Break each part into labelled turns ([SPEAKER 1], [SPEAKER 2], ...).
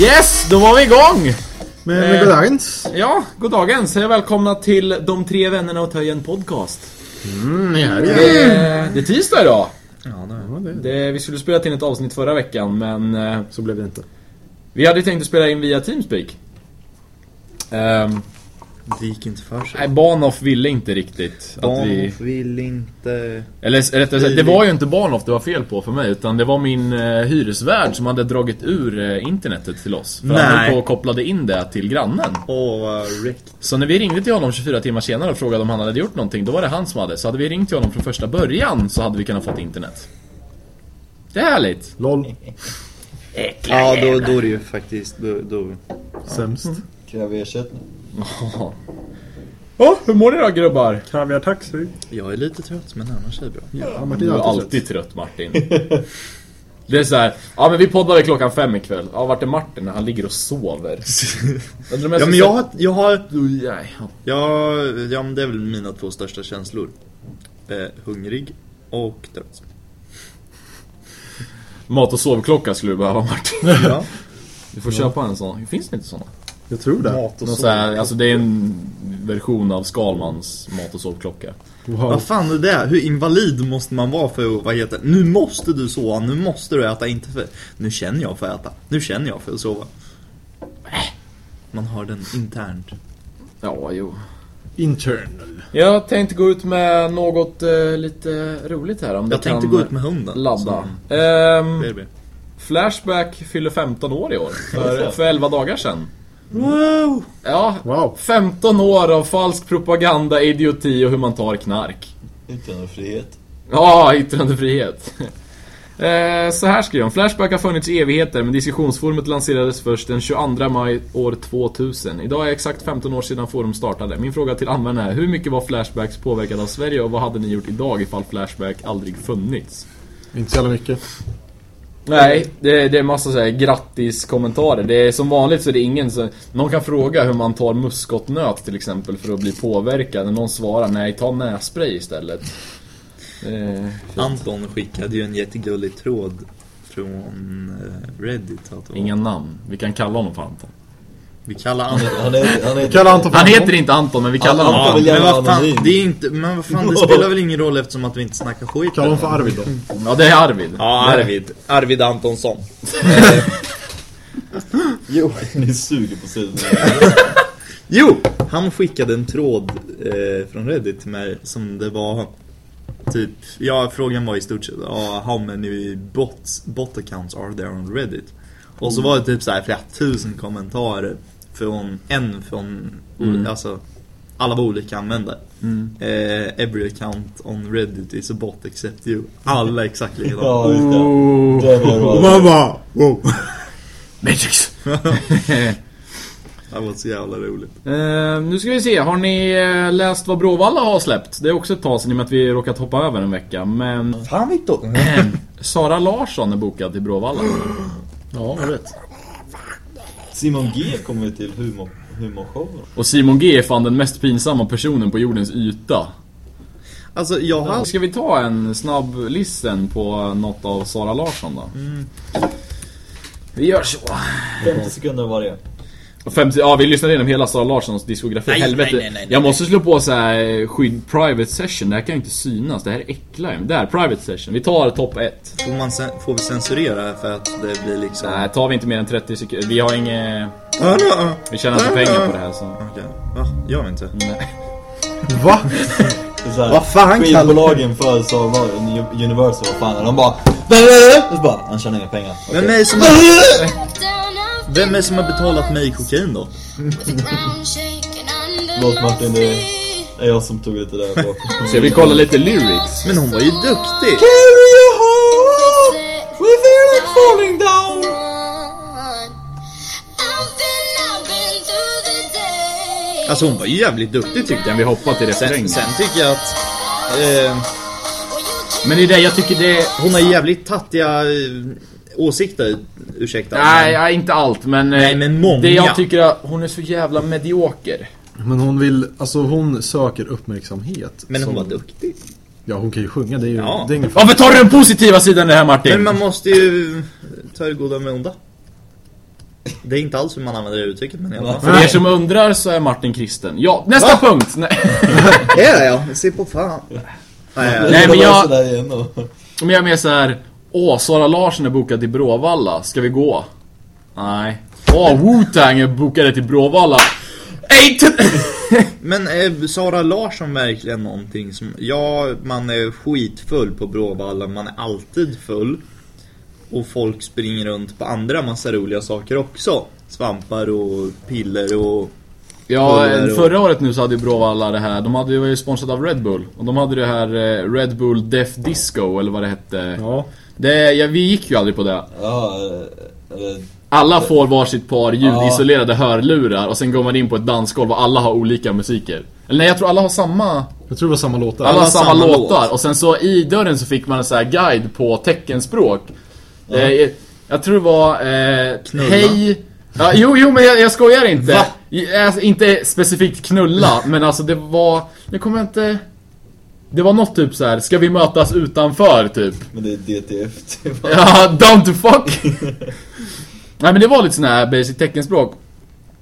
[SPEAKER 1] Yes, då var vi igång!
[SPEAKER 2] Med, med
[SPEAKER 1] Eh.
[SPEAKER 2] goddagens.
[SPEAKER 1] Ja, god dagens. Hej och välkomna till De tre vännerna och töjen podcast.
[SPEAKER 2] Mm, ja, det är
[SPEAKER 1] Eh, Det är tisdag idag.
[SPEAKER 2] ja, det. är-
[SPEAKER 1] Det, vi skulle spela in ett avsnitt förra veckan, men eh,
[SPEAKER 2] Så blev det inte.
[SPEAKER 1] vi hade ju tänkt att spela in via Teamspeak. Ehm,
[SPEAKER 3] Det gick inte för sig.
[SPEAKER 1] nej, Bahnhof ville inte riktigt att vi...
[SPEAKER 3] Barn vill inte...
[SPEAKER 1] Eller s- rättare sagt, det var ju inte Bahnhof det var fel på för mig, utan det var min eh, hyresvärd som hade dragit ur eh, internetet till oss. För han
[SPEAKER 3] Nej.
[SPEAKER 1] höll på och kopplade in det till grannen.
[SPEAKER 3] Åh, vad räckt.
[SPEAKER 1] Så när vi ringde till honom 24 timmar senare och frågade om han hade gjort någonting, då var det han som hade. Så hade vi ringt till honom från första början så hade vi kunnat fått internet. Det är härligt.
[SPEAKER 2] LOL.
[SPEAKER 3] Ja, då, då är det ju faktiskt... Då, då.
[SPEAKER 2] Sämst.
[SPEAKER 4] Kräver ersättning.
[SPEAKER 1] Åh, oh, hur mår ni då grubbar?
[SPEAKER 2] Kaviar taxi.
[SPEAKER 3] Jag är lite trött, men annars är det bra.
[SPEAKER 2] Ja,
[SPEAKER 1] Du
[SPEAKER 2] Martin
[SPEAKER 1] är
[SPEAKER 2] har
[SPEAKER 1] alltid trött Martin. Det är så här, ja men vi poddade klockan fem ikväll. Ja vart är Martin? Han ligger och sover. Undrar om
[SPEAKER 3] Ja,
[SPEAKER 1] ska
[SPEAKER 3] men jag har... Jag har...
[SPEAKER 1] sätta- Nej, ja.
[SPEAKER 3] Ja, ja, men det är väl mina två största känslor. Eh, hungrig och trött.
[SPEAKER 1] Mat och sovklocka skulle du behöva Martin.
[SPEAKER 3] Ja.
[SPEAKER 1] Du får köpa en sån. Finns det inte såna?
[SPEAKER 2] Jag tror det.
[SPEAKER 3] Mat
[SPEAKER 1] Någon så här, alltså det är en version av Skalmans mat och sovklocka.
[SPEAKER 2] Wow.
[SPEAKER 3] Vad fan är det? Hur invalid måste man vara för att... Vad heter det? Nu måste du sova, nu måste du äta, inte för... Nu känner jag för att äta. Nu känner jag för att sova. Äh. Man har den internt.
[SPEAKER 1] Ja, jo.
[SPEAKER 2] Internal.
[SPEAKER 1] Jag tänkte gå ut med något eh, lite roligt här om
[SPEAKER 3] Jag
[SPEAKER 1] du
[SPEAKER 3] tänkte
[SPEAKER 1] kan
[SPEAKER 3] gå ut med hunden.
[SPEAKER 1] ladda.
[SPEAKER 3] Så-
[SPEAKER 1] Ehm,
[SPEAKER 3] Det är det.
[SPEAKER 1] flashback fyller 15 år i år. För, för 11 dagar sedan.
[SPEAKER 3] Wow!
[SPEAKER 1] Ja,
[SPEAKER 2] Wow.
[SPEAKER 1] 15 år av falsk propaganda, idioti och hur man tar knark.
[SPEAKER 4] Yttrandefrihet.
[SPEAKER 1] Ja, yttrandefrihet. Eh, Så här skriver de. Flashback har funnits i evigheter men diskussionsforumet lanserades först den 22 maj år 2000. Idag är exakt 15 år sedan forum startade. Min fråga till användarna är hur mycket var Flashbacks påverkade av Sverige och vad hade ni gjort idag ifall Flashback aldrig funnits?
[SPEAKER 2] Inte så jävla mycket.
[SPEAKER 1] Nej, det, det är massa så här grattis-kommentarer. Det är som vanligt så är det ingen som... Någon kan fråga hur man tar muskotnöt till exempel för att bli påverkad. Någon svarar nej, ta nässpray istället. Eh,
[SPEAKER 3] Anton skickade ju en jättegullig tråd från eh, Reddit. Att det var-
[SPEAKER 1] inga namn. Vi kan kalla honom för Anton.
[SPEAKER 3] Vi kallar Anton...
[SPEAKER 4] Han är, han är,
[SPEAKER 2] Kalla Anton för
[SPEAKER 1] Han
[SPEAKER 2] Anton.
[SPEAKER 1] heter inte Anton, men vi kallar honom
[SPEAKER 4] Han
[SPEAKER 3] Ja,
[SPEAKER 4] får väl
[SPEAKER 3] men
[SPEAKER 4] gärna
[SPEAKER 3] vad
[SPEAKER 4] vara
[SPEAKER 3] fan,
[SPEAKER 4] anonym.
[SPEAKER 3] det är inte... Men vad fan, det spelar väl ingen roll eftersom att vi inte snackar skit.
[SPEAKER 2] Kalla honom för Arvid då.
[SPEAKER 1] Anton. Ja, det är Arvid.
[SPEAKER 3] Ja, Arvid. Arvid Antonsson.
[SPEAKER 4] jo, ni suger på sidan.
[SPEAKER 3] Jo! Han skickade en tråd eh, från Reddit till mig som det var typ, ja frågan var i stort sett, ja, how many bots, bot accounts are there on Reddit? Och
[SPEAKER 4] Mm.
[SPEAKER 3] så var det typ så här flera tusen kommentarer från en från,
[SPEAKER 4] Mm.
[SPEAKER 3] alltså alla var olika användare. Eh, every account on Reddit is a bot except you. Alla exakt likadana.
[SPEAKER 4] Ja, just det. Det var
[SPEAKER 2] Och
[SPEAKER 4] bra.
[SPEAKER 2] man bara wow.
[SPEAKER 1] Matrix!
[SPEAKER 3] Det var så jävla roligt.
[SPEAKER 1] Eh, nu ska vi se, har ni eh, läst vad Bråvalla har släppt? Det är också ett tag sedan i och med att vi råkat hoppa över en vecka, men... Ehm,
[SPEAKER 3] Fan Viktor!
[SPEAKER 1] Sara Larsson är bokad till Bråvalla.
[SPEAKER 2] Ja, jag vet.
[SPEAKER 4] Simon G kommer ju till humor, humorshowen.
[SPEAKER 1] Och Simon G är fan den mest pinsamma personen på jordens yta.
[SPEAKER 3] Alltså jag har
[SPEAKER 1] Ska vi ta en snabb listen på något av Sara Larsson då?
[SPEAKER 3] Mm.
[SPEAKER 1] Vi gör så.
[SPEAKER 4] 50 sekunder varje.
[SPEAKER 1] 50, ja, vi lyssnade igenom hela Sara Larssons diskografi.
[SPEAKER 3] Nej,
[SPEAKER 1] Helvete.
[SPEAKER 3] nej, nej, nej,
[SPEAKER 1] jag måste slå på så här eh, skydd private session. Det här kan ju inte synas. Det här äcklar ju. Där, private session. Vi tar topp 1.
[SPEAKER 3] Får, man sen, får vi censurera för att det blir liksom...
[SPEAKER 1] Nej, tar vi inte mer än 30 sekunder. Vi har inget...
[SPEAKER 3] Ja, ja, ja.
[SPEAKER 1] Vi tjänar inte pengar på det här så...
[SPEAKER 3] Okej, va? Gör vi inte?
[SPEAKER 1] Nej.
[SPEAKER 2] Va?
[SPEAKER 4] Det är så här,
[SPEAKER 3] Vad fan, Kalle?
[SPEAKER 4] Skivbolagen föreslår var- Uni- Universal, vad fan är de bara... Och så bara, han tjänar inga pengar. Okej.
[SPEAKER 3] Vem är det som har, vem
[SPEAKER 5] Vem
[SPEAKER 3] är det som har betalat mig i kokain då?
[SPEAKER 4] Låt Martin, det är jag som tog lite där bak.
[SPEAKER 1] Ska vi kolla lite lyrics?
[SPEAKER 3] Men hon var ju duktig! Alltså hon var ju jävligt duktig tyckte
[SPEAKER 1] Den
[SPEAKER 3] jag.
[SPEAKER 1] vi hoppar till refrängen.
[SPEAKER 3] Sen, sen tycker jag att eh,
[SPEAKER 1] Men det är det jag tycker det är...
[SPEAKER 3] hon har jävligt tattiga eh, åsikter, ursäkta.
[SPEAKER 1] Nej, nej, inte allt men... eh,
[SPEAKER 3] Nej, men många.
[SPEAKER 1] Det jag tycker är att hon är så jävla medioker.
[SPEAKER 2] Men hon vill, alltså hon söker uppmärksamhet.
[SPEAKER 3] Men hon
[SPEAKER 2] Som-
[SPEAKER 3] var duktig.
[SPEAKER 2] Ja, hon kan ju sjunga. Det är ju,
[SPEAKER 3] Ja.
[SPEAKER 2] det är ingen fara.
[SPEAKER 1] Varför tar du den positiva sidan i det här Martin?
[SPEAKER 3] Men man måste ju ta det goda med onda. Det är inte alls hur man använder det uttrycket men i alla fall.
[SPEAKER 1] För er som undrar så är Martin kristen. Ja, nästa punkt! Nej,
[SPEAKER 3] Det är det ja, se på fan. Nej, ja.
[SPEAKER 1] Nej, men jag-
[SPEAKER 4] Sådär igen då.
[SPEAKER 1] men jag är mer så här. Åh, Sara Larsson är bokad till Bråvalla. Ska vi gå? Nej. Åh, Wu-Tang är bokade till Bråvalla. Ej, t-
[SPEAKER 3] Men är Sara Larsson verkligen någonting som... Ja, man är skitfull på Bråvalla, man är alltid full. Och folk springer runt på andra massa roliga saker också. Svampar och piller och...
[SPEAKER 1] Ja,
[SPEAKER 3] Bull där och-
[SPEAKER 1] förra året nu så hade ju Bråvalla det här, de hade ju var ju sponsrade av Red Bull. Och de hade det här eh, Red Bull Def Disco eller vad det hette.
[SPEAKER 2] Ja.
[SPEAKER 1] Det, ja, vi gick ju aldrig på det.
[SPEAKER 4] Ja, eh, eh,
[SPEAKER 1] Alla får varsitt par ljudisolerade hörlurar och sen går man in på ett dansgolv och alla har olika musiker. Eller nej, jag tror alla har samma,
[SPEAKER 2] Jag tror det var samma låtar.
[SPEAKER 1] alla har
[SPEAKER 3] har
[SPEAKER 1] samma,
[SPEAKER 3] samma låt.
[SPEAKER 1] låtar. Och sen så i dörren så fick man en sån här guide på teckenspråk. Eh, jag tror det var eh,
[SPEAKER 3] Knulla.
[SPEAKER 1] Hej... Ja, jo, jo, men jag, jag skojar inte. Jag, alltså, inte specifikt knulla, men alltså det var... Nu kommer jag inte... Det var något typ så här. ska vi mötas utanför typ?
[SPEAKER 4] men det är DTF. det var-
[SPEAKER 1] Ja, down to fuck! Nej men det var lite sån här basic teckenspråk.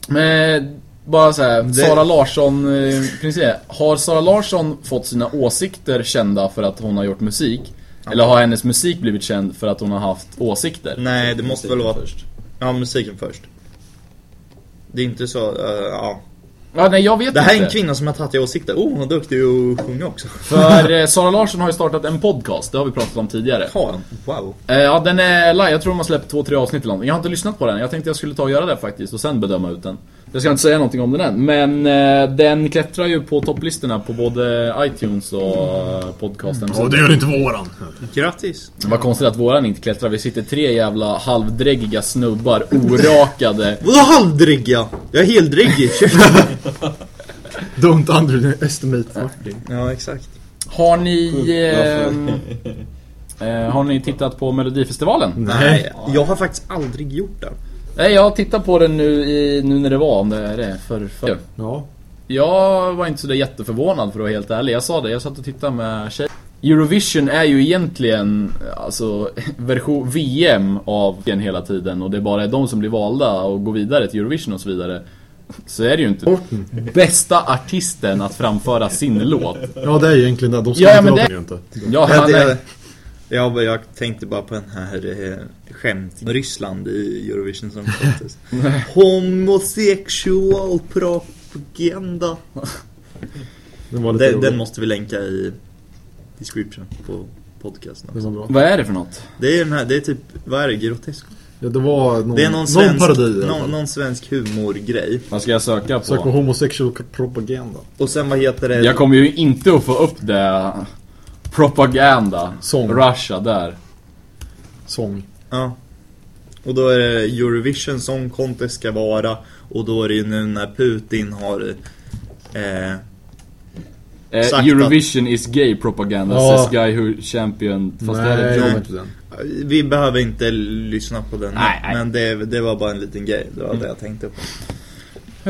[SPEAKER 1] Men bara så här, Sara Larsson, eh, princip. Har Sara Larsson fått sina åsikter kända för att hon har gjort musik? Eller har hennes musik blivit känd för att hon har haft åsikter?
[SPEAKER 3] Nej, det måste väl vara...
[SPEAKER 4] Först.
[SPEAKER 3] Ja, musiken först. Det är inte så... eh, ja.
[SPEAKER 1] Ja, nej jag vet
[SPEAKER 3] Det här är
[SPEAKER 1] inte.
[SPEAKER 3] en kvinna som har tagit i åsikter. Oh, hon är duktig och sjunga också.
[SPEAKER 1] För eh, Sara Larsson har ju startat en podcast, det har vi pratat om tidigare.
[SPEAKER 3] Har hon? Wow.
[SPEAKER 1] Eh, ja, den är live. Jag tror de har släppt två, tre avsnitt eller någonting. Jag har inte lyssnat på den. Jag tänkte jag skulle ta och göra det faktiskt och sen bedöma ut den. Jag ska inte säga någonting om den än. Men eh, den klättrar ju på topplistorna på både iTunes och eh, podcasten.
[SPEAKER 2] Ja,
[SPEAKER 3] Mm.
[SPEAKER 2] det gör inte våran.
[SPEAKER 3] Grattis.
[SPEAKER 1] Vad konstigt att våran inte klättrar. Vi sitter tre jävla halvdräggiga snubbar, orakade.
[SPEAKER 3] Vadå halvdrigga? Jag är heldriggig.
[SPEAKER 2] Don't underestimate Martin.
[SPEAKER 3] ja, exakt.
[SPEAKER 1] Har ni... ehm,
[SPEAKER 4] Varför?
[SPEAKER 1] Eh, har ni tittat på
[SPEAKER 3] Mm.
[SPEAKER 1] Melodifestivalen?
[SPEAKER 3] Nej, jag har faktiskt aldrig gjort det.
[SPEAKER 1] Nej, jag tittar på den nu, i, nu när det var, om det är det. För, för.
[SPEAKER 2] Ja.
[SPEAKER 1] Jag var inte så där jätteförvånad för att vara helt ärlig. Jag sa det, jag satt och tittade med tjejer. Eurovision är ju egentligen alltså, version VM av den hela tiden och det är bara de som blir valda och går vidare till Eurovision och så vidare. Så är det ju inte. Bästa artisten att framföra sin låt.
[SPEAKER 2] ja, det är egentligen det. De ska
[SPEAKER 1] Ja,
[SPEAKER 2] inte
[SPEAKER 1] men
[SPEAKER 2] låta
[SPEAKER 1] det-
[SPEAKER 2] det... inte.
[SPEAKER 1] Ja,
[SPEAKER 3] Jag,
[SPEAKER 1] han är,
[SPEAKER 3] jag, jag, jag tänkte bara på den här eh, skämt Ryssland i Eurovision som skämtes. Homosexual propaganda.
[SPEAKER 2] Den var lite
[SPEAKER 3] Den,
[SPEAKER 2] rolig.
[SPEAKER 3] den måste vi länka i description på podcasten.
[SPEAKER 2] Den
[SPEAKER 3] också.
[SPEAKER 2] var bra.
[SPEAKER 1] vad är det för något?
[SPEAKER 3] Det är den här, det är typ, vad är det? Grotesk?
[SPEAKER 2] Ja, det var någon,
[SPEAKER 3] Det är någon svensk,
[SPEAKER 2] parodi i alla
[SPEAKER 3] någon,
[SPEAKER 2] fall.
[SPEAKER 3] någon svensk humorgrej.
[SPEAKER 1] Vad ska jag söka
[SPEAKER 2] Sök på
[SPEAKER 1] på?
[SPEAKER 2] homosexual propaganda.
[SPEAKER 3] Och sen vad heter det?
[SPEAKER 1] Jag kommer ju inte att få upp det. Propaganda.
[SPEAKER 2] Sång.
[SPEAKER 1] Russia där.
[SPEAKER 2] Sång.
[SPEAKER 3] Ja. Och då är det Eurovision Song Contest ska vara och då är det ju nu när Putin har eh, Sagt
[SPEAKER 1] Eh,
[SPEAKER 3] att-
[SPEAKER 1] Eurovision is gay propaganda,
[SPEAKER 2] Ja.
[SPEAKER 1] says guy who champion. Fast det här är
[SPEAKER 2] Nej,
[SPEAKER 1] ett
[SPEAKER 2] jag
[SPEAKER 1] jobb.
[SPEAKER 2] vet inte den.
[SPEAKER 3] Vi behöver inte lyssna på den.
[SPEAKER 1] Nej, nej.
[SPEAKER 3] Men det, det var bara en liten grej. Det var det jag tänkte på.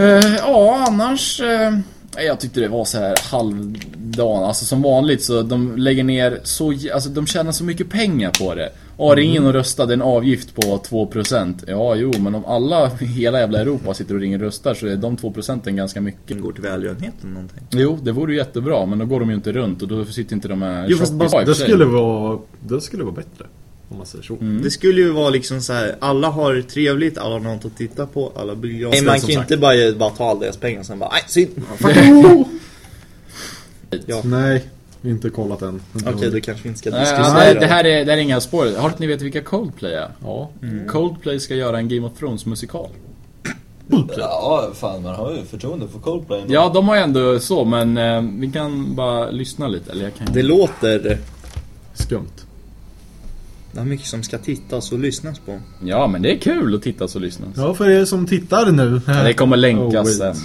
[SPEAKER 1] Eh, ja, annars... eh, jag tyckte det var så här halvdan. Alltså som vanligt så de lägger ner så... j- Alltså de tjänar så mycket pengar på det. Ja, ring
[SPEAKER 3] Mm.
[SPEAKER 1] in och rösta, det är en avgift på 2%. Ja, jo, men om alla i hela jävla Europa sitter och ringer och röstar så är de 2% ganska mycket.
[SPEAKER 3] Den går till välgörenheten någonting.
[SPEAKER 1] Jo, det vore ju jättebra, men då går de ju inte runt och då sitter inte de här...
[SPEAKER 3] Jo, fast
[SPEAKER 1] shoppies-
[SPEAKER 3] bara-
[SPEAKER 1] i och för
[SPEAKER 2] Det
[SPEAKER 1] sig.
[SPEAKER 2] skulle vara, det skulle vara bättre. Om man säger så.
[SPEAKER 3] Det skulle ju vara liksom så här. alla har det trevligt, alla har något att titta på, alla blir glada. Nej, man kan ju inte bara, bara ta all deras pengar och sen bara, nej, synd. Ja.
[SPEAKER 2] Nej, inte kollat än. Inte
[SPEAKER 3] Okej,
[SPEAKER 2] hunnit.
[SPEAKER 3] då kanske vi inte ska
[SPEAKER 1] Nej,
[SPEAKER 3] diskutera
[SPEAKER 1] alltså, det, det, här är, det här är inga spår. Har ni vet vilka Coldplay är? Mm.
[SPEAKER 2] Ja.
[SPEAKER 1] Coldplay ska göra en Game of Thrones musikal.
[SPEAKER 4] Ja, fan man har ju förtroende för Coldplay. ändå.
[SPEAKER 1] Ja, de har ju ändå så, men eh, vi kan bara lyssna lite. Eller jag kan
[SPEAKER 3] Det låter,
[SPEAKER 2] Skumt.
[SPEAKER 3] det är mycket som ska tittas och lyssnas på.
[SPEAKER 1] Ja, men det är kul att titta och lyssna.
[SPEAKER 2] Ja, för er som tittar nu.
[SPEAKER 1] Det kommer länkas
[SPEAKER 2] Oh,
[SPEAKER 1] sen.
[SPEAKER 2] wait.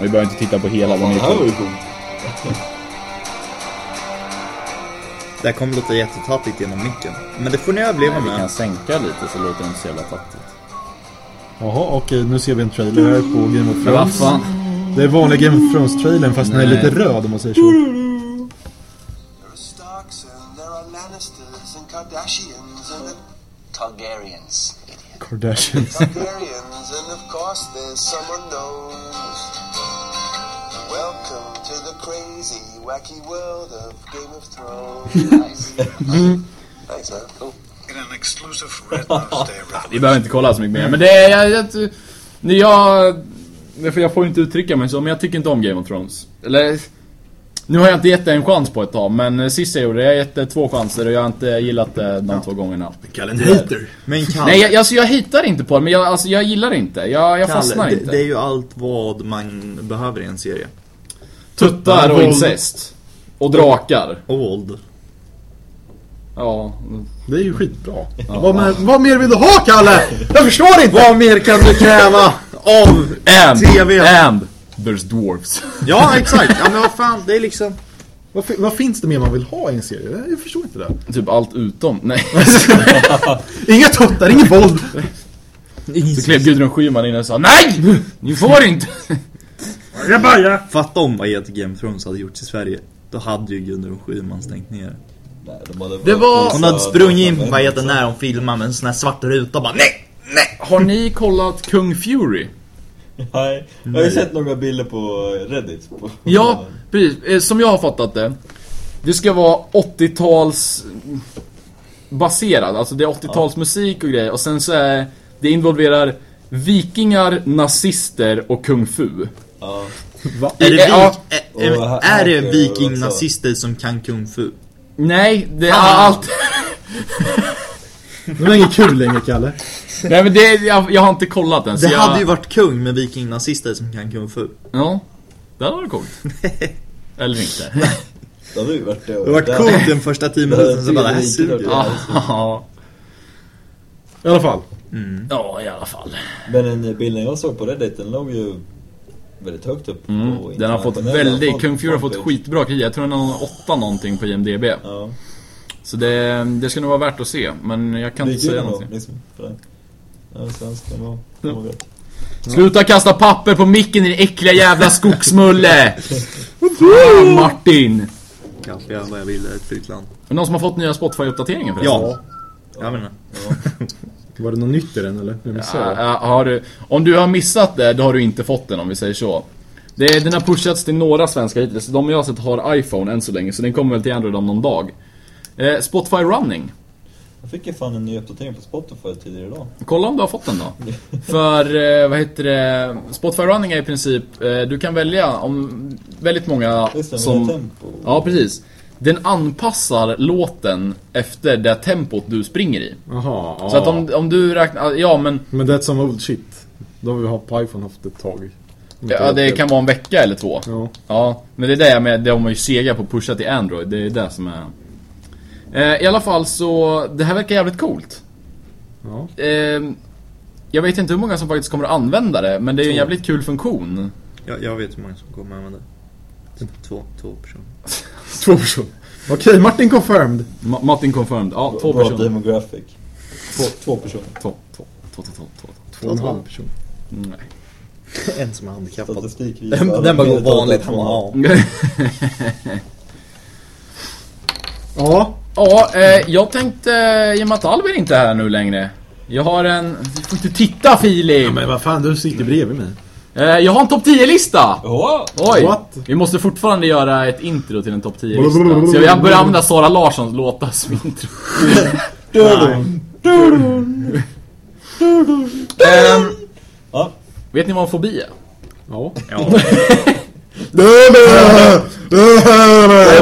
[SPEAKER 1] Vi behöver inte titta på hela den
[SPEAKER 4] Det här var
[SPEAKER 1] YouTube.
[SPEAKER 4] ju coolt.
[SPEAKER 3] Det här kommer låta jättetattigt genom micken. Men det får ni överleva
[SPEAKER 1] Vi kan
[SPEAKER 3] med.
[SPEAKER 1] sänka lite så låter det inte så jävla fattigt.
[SPEAKER 2] Jaha, okej, nu ser vi en trailer här på Game of
[SPEAKER 1] Men vad
[SPEAKER 2] Thrones.
[SPEAKER 1] fan.
[SPEAKER 2] Det är vanliga Game of Thrones-trailern fast den är
[SPEAKER 1] Nej.
[SPEAKER 2] lite röd om man säger så.
[SPEAKER 5] There are Starks and there are Lannisters and Kardashians and Targaryens.
[SPEAKER 2] Kardashian.
[SPEAKER 5] Targaryens, and of course there's some unknowns. Welcome to the crazy, wacky world of Game of Thrones. nice. Thanks, man. Cool.
[SPEAKER 6] In an exclusive Red Nose Day
[SPEAKER 1] Vi
[SPEAKER 6] revelation.
[SPEAKER 1] behöver inte kolla så mycket mer, men det är... Jag, jag, när jag, för jag får inte uttrycka mig så, men jag tycker inte om Game of Thrones. Eller... Nu har jag inte gett det en chans på ett tag, men eh, sist jag gjorde det, jag har gett det två chanser och jag har inte gillat det de två gångerna.
[SPEAKER 2] Kall en hater.
[SPEAKER 3] Men Kalle,
[SPEAKER 1] Nej, jag, alltså jag hittar inte på det, men jag, alltså, jag gillar det inte. Jag, jag
[SPEAKER 3] Kalle,
[SPEAKER 1] fastnar
[SPEAKER 3] det,
[SPEAKER 1] inte.
[SPEAKER 3] det är ju allt vad man behöver i en serie.
[SPEAKER 1] Tuttar och incest. Och drakar.
[SPEAKER 3] Och våld.
[SPEAKER 1] Ja.
[SPEAKER 2] Det är ju skitbra. Vad, mer, vad mer vill du ha Kalle?
[SPEAKER 1] Jag förstår inte!
[SPEAKER 3] Vad mer kan du kräva av...
[SPEAKER 1] And,
[SPEAKER 3] TV.
[SPEAKER 1] and, there's dwarfs.
[SPEAKER 3] Ja, exakt. Ja, men vad fan, det är liksom...
[SPEAKER 2] Vad, fi- vad finns det mer man vill ha i en serie? Jag förstår inte det.
[SPEAKER 1] Typ allt utom, nej.
[SPEAKER 2] Inga tuttar, inget våld.
[SPEAKER 1] Så klev Gudrun Schyman in och sa NEJ! Ni får inte!
[SPEAKER 3] Fatta om vad Get Game of Thrones hade gjort i Sverige. Då hade ju Gudrun Schyman stängt ner.
[SPEAKER 4] Nej, de hade
[SPEAKER 1] Det var-
[SPEAKER 3] Hon hade sprungit in på vad heter när hon filmade med en sån här svart ruta och bara nej, nej.
[SPEAKER 1] Har ni kollat Kung Fury?
[SPEAKER 4] Nej, jag har ju sett några bilder på Reddit. På,
[SPEAKER 1] Ja, precis. Eh, Som jag har fattat det. Det ska vara 80-tals... Baserad, alltså det är 80-talsmusik och grejer. Och sen så är... Det involverar vikingar, nazister och kung fu.
[SPEAKER 4] Ja.
[SPEAKER 3] Är det,
[SPEAKER 1] Eh, ja.
[SPEAKER 3] vik- eh, eh,
[SPEAKER 4] Och här-
[SPEAKER 3] är det
[SPEAKER 4] här-
[SPEAKER 3] viking-nazister som kan kung fu?
[SPEAKER 1] Nej, det är
[SPEAKER 3] Ah.
[SPEAKER 1] allt...
[SPEAKER 2] Det var inget kul längre Kalle.
[SPEAKER 1] Nej men det, jag, jag har inte kollat den. så
[SPEAKER 3] Det
[SPEAKER 1] jag,
[SPEAKER 3] hade ju varit kung med viking-nazister som kan kung fu.
[SPEAKER 1] Ja, det hade varit coolt. Eller inte.
[SPEAKER 4] Det hade ju varit det.
[SPEAKER 3] Det hade varit coolt den första tio minuten, sen bara "Äh, det här suger.
[SPEAKER 1] Ja,
[SPEAKER 2] I alla fall.
[SPEAKER 1] ja, i alla fall.
[SPEAKER 4] Men den bilden jag såg på Reddit, den låg ju väldigt högt upp. på
[SPEAKER 1] Mm. Den har fått
[SPEAKER 4] internationella
[SPEAKER 1] väldigt,
[SPEAKER 4] folk-
[SPEAKER 1] Kung Fury har fått
[SPEAKER 4] folk-
[SPEAKER 1] skitbra kritik. Jag tror den har 8 någonting på IMDB.
[SPEAKER 4] Ja,
[SPEAKER 1] Så det, det ska nog vara värt att se, men jag kan
[SPEAKER 4] det
[SPEAKER 1] inte
[SPEAKER 4] gick ju
[SPEAKER 1] säga
[SPEAKER 4] ändå
[SPEAKER 1] någonting.
[SPEAKER 4] liksom. För det. Ja, svensk, den var, den var gott.
[SPEAKER 1] Sluta kasta papper på micken din äckliga jävla skogsmulle! Fan, Martin!
[SPEAKER 3] Kanske jag vad jag ville, ett fritt land.
[SPEAKER 1] Är det någon som har fått nya Spotify-uppdateringen förresten?
[SPEAKER 3] Ja. Jag menar.
[SPEAKER 2] Var det något nytt i den eller? Jag missade det.
[SPEAKER 1] Ja, ja, har du, om du har missat det, då har du inte fått den om vi säger så. Det, den har pushats till några svenskar hittills. De jag har sett har iPhone än så länge, så den kommer väl till Android om någon dag. Eh, Spotify Running.
[SPEAKER 4] Jag fick ju fan en ny uppdatering på Spotify tidigare idag.
[SPEAKER 1] Kolla om du har fått den då. För, eh, vad heter det? Spotify Running är i princip, eh, du kan välja om väldigt många
[SPEAKER 4] Just det, som...
[SPEAKER 1] som...
[SPEAKER 4] tempo.
[SPEAKER 1] Ja, precis. Den anpassar låten efter det tempot du springer i.
[SPEAKER 2] Jaha, ja.
[SPEAKER 1] Så att om, om du räknar, ja men
[SPEAKER 2] Men det är som old shit. Då har vi haft på iPhone haft ett tag.
[SPEAKER 1] ja, det kan vara en vecka eller två.
[SPEAKER 2] Ja.
[SPEAKER 1] Ja, men det är det jag med, de har ju sega på att pusha till Android, det är det som är... Eh, I alla fall så, det här verkar jävligt coolt.
[SPEAKER 2] Ja.
[SPEAKER 1] Eh, jag vet inte hur många som faktiskt kommer att använda det, men det är ju en jävligt kul funktion.
[SPEAKER 3] Jag, jag vet hur många som kommer använda det. Två, två personer.
[SPEAKER 2] Två personer. Okej, Martin confirmed.
[SPEAKER 1] Ma- Martin confirmed, ja två
[SPEAKER 4] Bra
[SPEAKER 1] personer.
[SPEAKER 4] demographic. Två, två personer.
[SPEAKER 1] Två, två, två, två, två, två.
[SPEAKER 2] Två och en halv person.
[SPEAKER 1] Nej.
[SPEAKER 3] En som är handikappad.
[SPEAKER 4] Statistik
[SPEAKER 3] Den,
[SPEAKER 4] visar...
[SPEAKER 3] den bara går vanligt hemma.
[SPEAKER 2] Ja.
[SPEAKER 1] ja, eh, jag tänkte, i och med att Albin inte är här nu längre. Jag har en... Du får inte titta Filip!
[SPEAKER 2] Men vad fan, du sitter bredvid mig.
[SPEAKER 1] Eh, jag har en topp 10-lista!
[SPEAKER 4] Åh!
[SPEAKER 1] Oj!
[SPEAKER 2] What?
[SPEAKER 1] Vi måste fortfarande göra ett intro till en topp 10-lista. Så jag börjar använda Sara Larssons låtar som intro. Ehm,
[SPEAKER 4] Ja.
[SPEAKER 1] vet ni vad en fobi är?
[SPEAKER 2] Ja.
[SPEAKER 4] Jag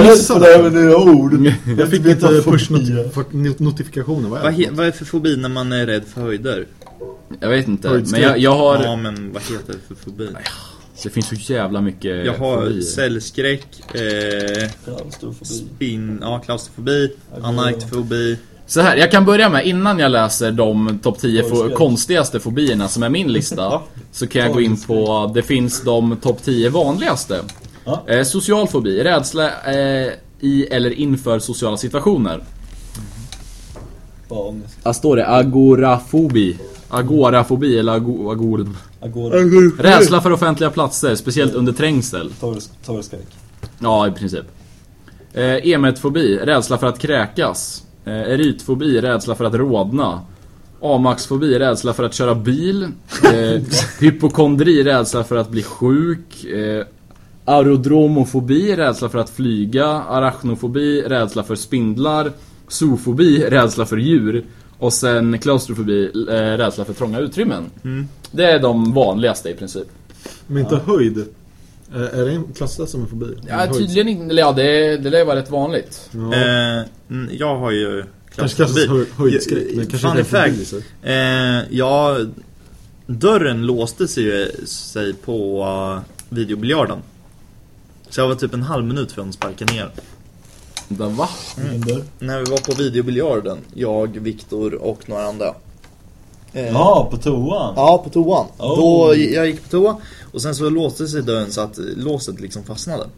[SPEAKER 4] missade det här med dina ord.
[SPEAKER 2] Jag fick
[SPEAKER 4] vet
[SPEAKER 2] lite
[SPEAKER 4] vad
[SPEAKER 2] push
[SPEAKER 4] fobi
[SPEAKER 2] noti- for- notifikationer. Vad är
[SPEAKER 3] Vad,
[SPEAKER 2] det?
[SPEAKER 3] he, vad är det för fobi när man är rädd för höjder?
[SPEAKER 1] Jag vet inte, men
[SPEAKER 2] Höjdskräck.
[SPEAKER 1] jag, jag
[SPEAKER 3] Ja,
[SPEAKER 1] har...
[SPEAKER 3] men vad heter det för fobi?
[SPEAKER 1] Det finns så jävla mycket
[SPEAKER 3] Jag har
[SPEAKER 1] fobier.
[SPEAKER 3] cellskräck, eh,
[SPEAKER 4] Klaustrofobi.
[SPEAKER 3] spin, ja, klaustrofobi, anarktofobi.
[SPEAKER 1] Så här, jag kan börja med, innan jag läser de topp 10 fo-
[SPEAKER 4] Torgspel.
[SPEAKER 1] konstigaste fobierna som är min lista.
[SPEAKER 4] Ja.
[SPEAKER 1] så kan jag gå in på, det finns de topp 10 vanligaste.
[SPEAKER 4] Ja.
[SPEAKER 1] Eh, social fobi, rädsla eh, i eller inför sociala situationer.
[SPEAKER 4] Bara ångest.
[SPEAKER 1] Vad står det? Agorafobi. Agorafobi eller ago, agor...
[SPEAKER 4] Agora.
[SPEAKER 1] Rädsla för offentliga platser, speciellt under trängsel.
[SPEAKER 4] Torres- Torreskräck.
[SPEAKER 1] Ja, i princip. Eh, emetfobi, rädsla för att kräkas. Eh, erytfobi, rädsla för att rodna. Amaxfobi, rädsla för att köra bil. Eh, hypokondri, rädsla för att bli sjuk. Eh, aerodromofobi, rädsla för att flyga. Arachnofobi, rädsla för spindlar. Zoofobi, rädsla för djur. Och sen klaustrofobi, eh, rädsla för trånga utrymmen. Det är de vanligaste i princip.
[SPEAKER 2] Men inte höjd. Eh, Är det en- klassas som en fobi?
[SPEAKER 1] Ja,
[SPEAKER 2] Höjd.
[SPEAKER 1] tydligen inte. eller Ja, det, det lär ju vara rätt vanligt.
[SPEAKER 2] Ja.
[SPEAKER 3] Eh, mm, jag har ju...
[SPEAKER 2] Kanske klassas
[SPEAKER 3] klaustrofobi. Eh,
[SPEAKER 2] som hö- höjdskräck, men kanske
[SPEAKER 3] Fun
[SPEAKER 2] inte är en fobi.
[SPEAKER 3] fact,
[SPEAKER 2] så.
[SPEAKER 3] Eh, ja, dörren låste sig, ju- sig på uh, videobiljarden. Så jag var typ en halv minut för att sparka ner.
[SPEAKER 1] Vänta, Va?
[SPEAKER 3] Mm.
[SPEAKER 4] Vilken dörr?
[SPEAKER 3] När vi var på videobiljarden, jag, Viktor och några andra. Eh,
[SPEAKER 4] Ja, på toan.
[SPEAKER 3] Ja, på toan.
[SPEAKER 4] Oh.
[SPEAKER 3] Då, jag gick på toa och sen så låste sig dörren så att låset liksom fastnade. Och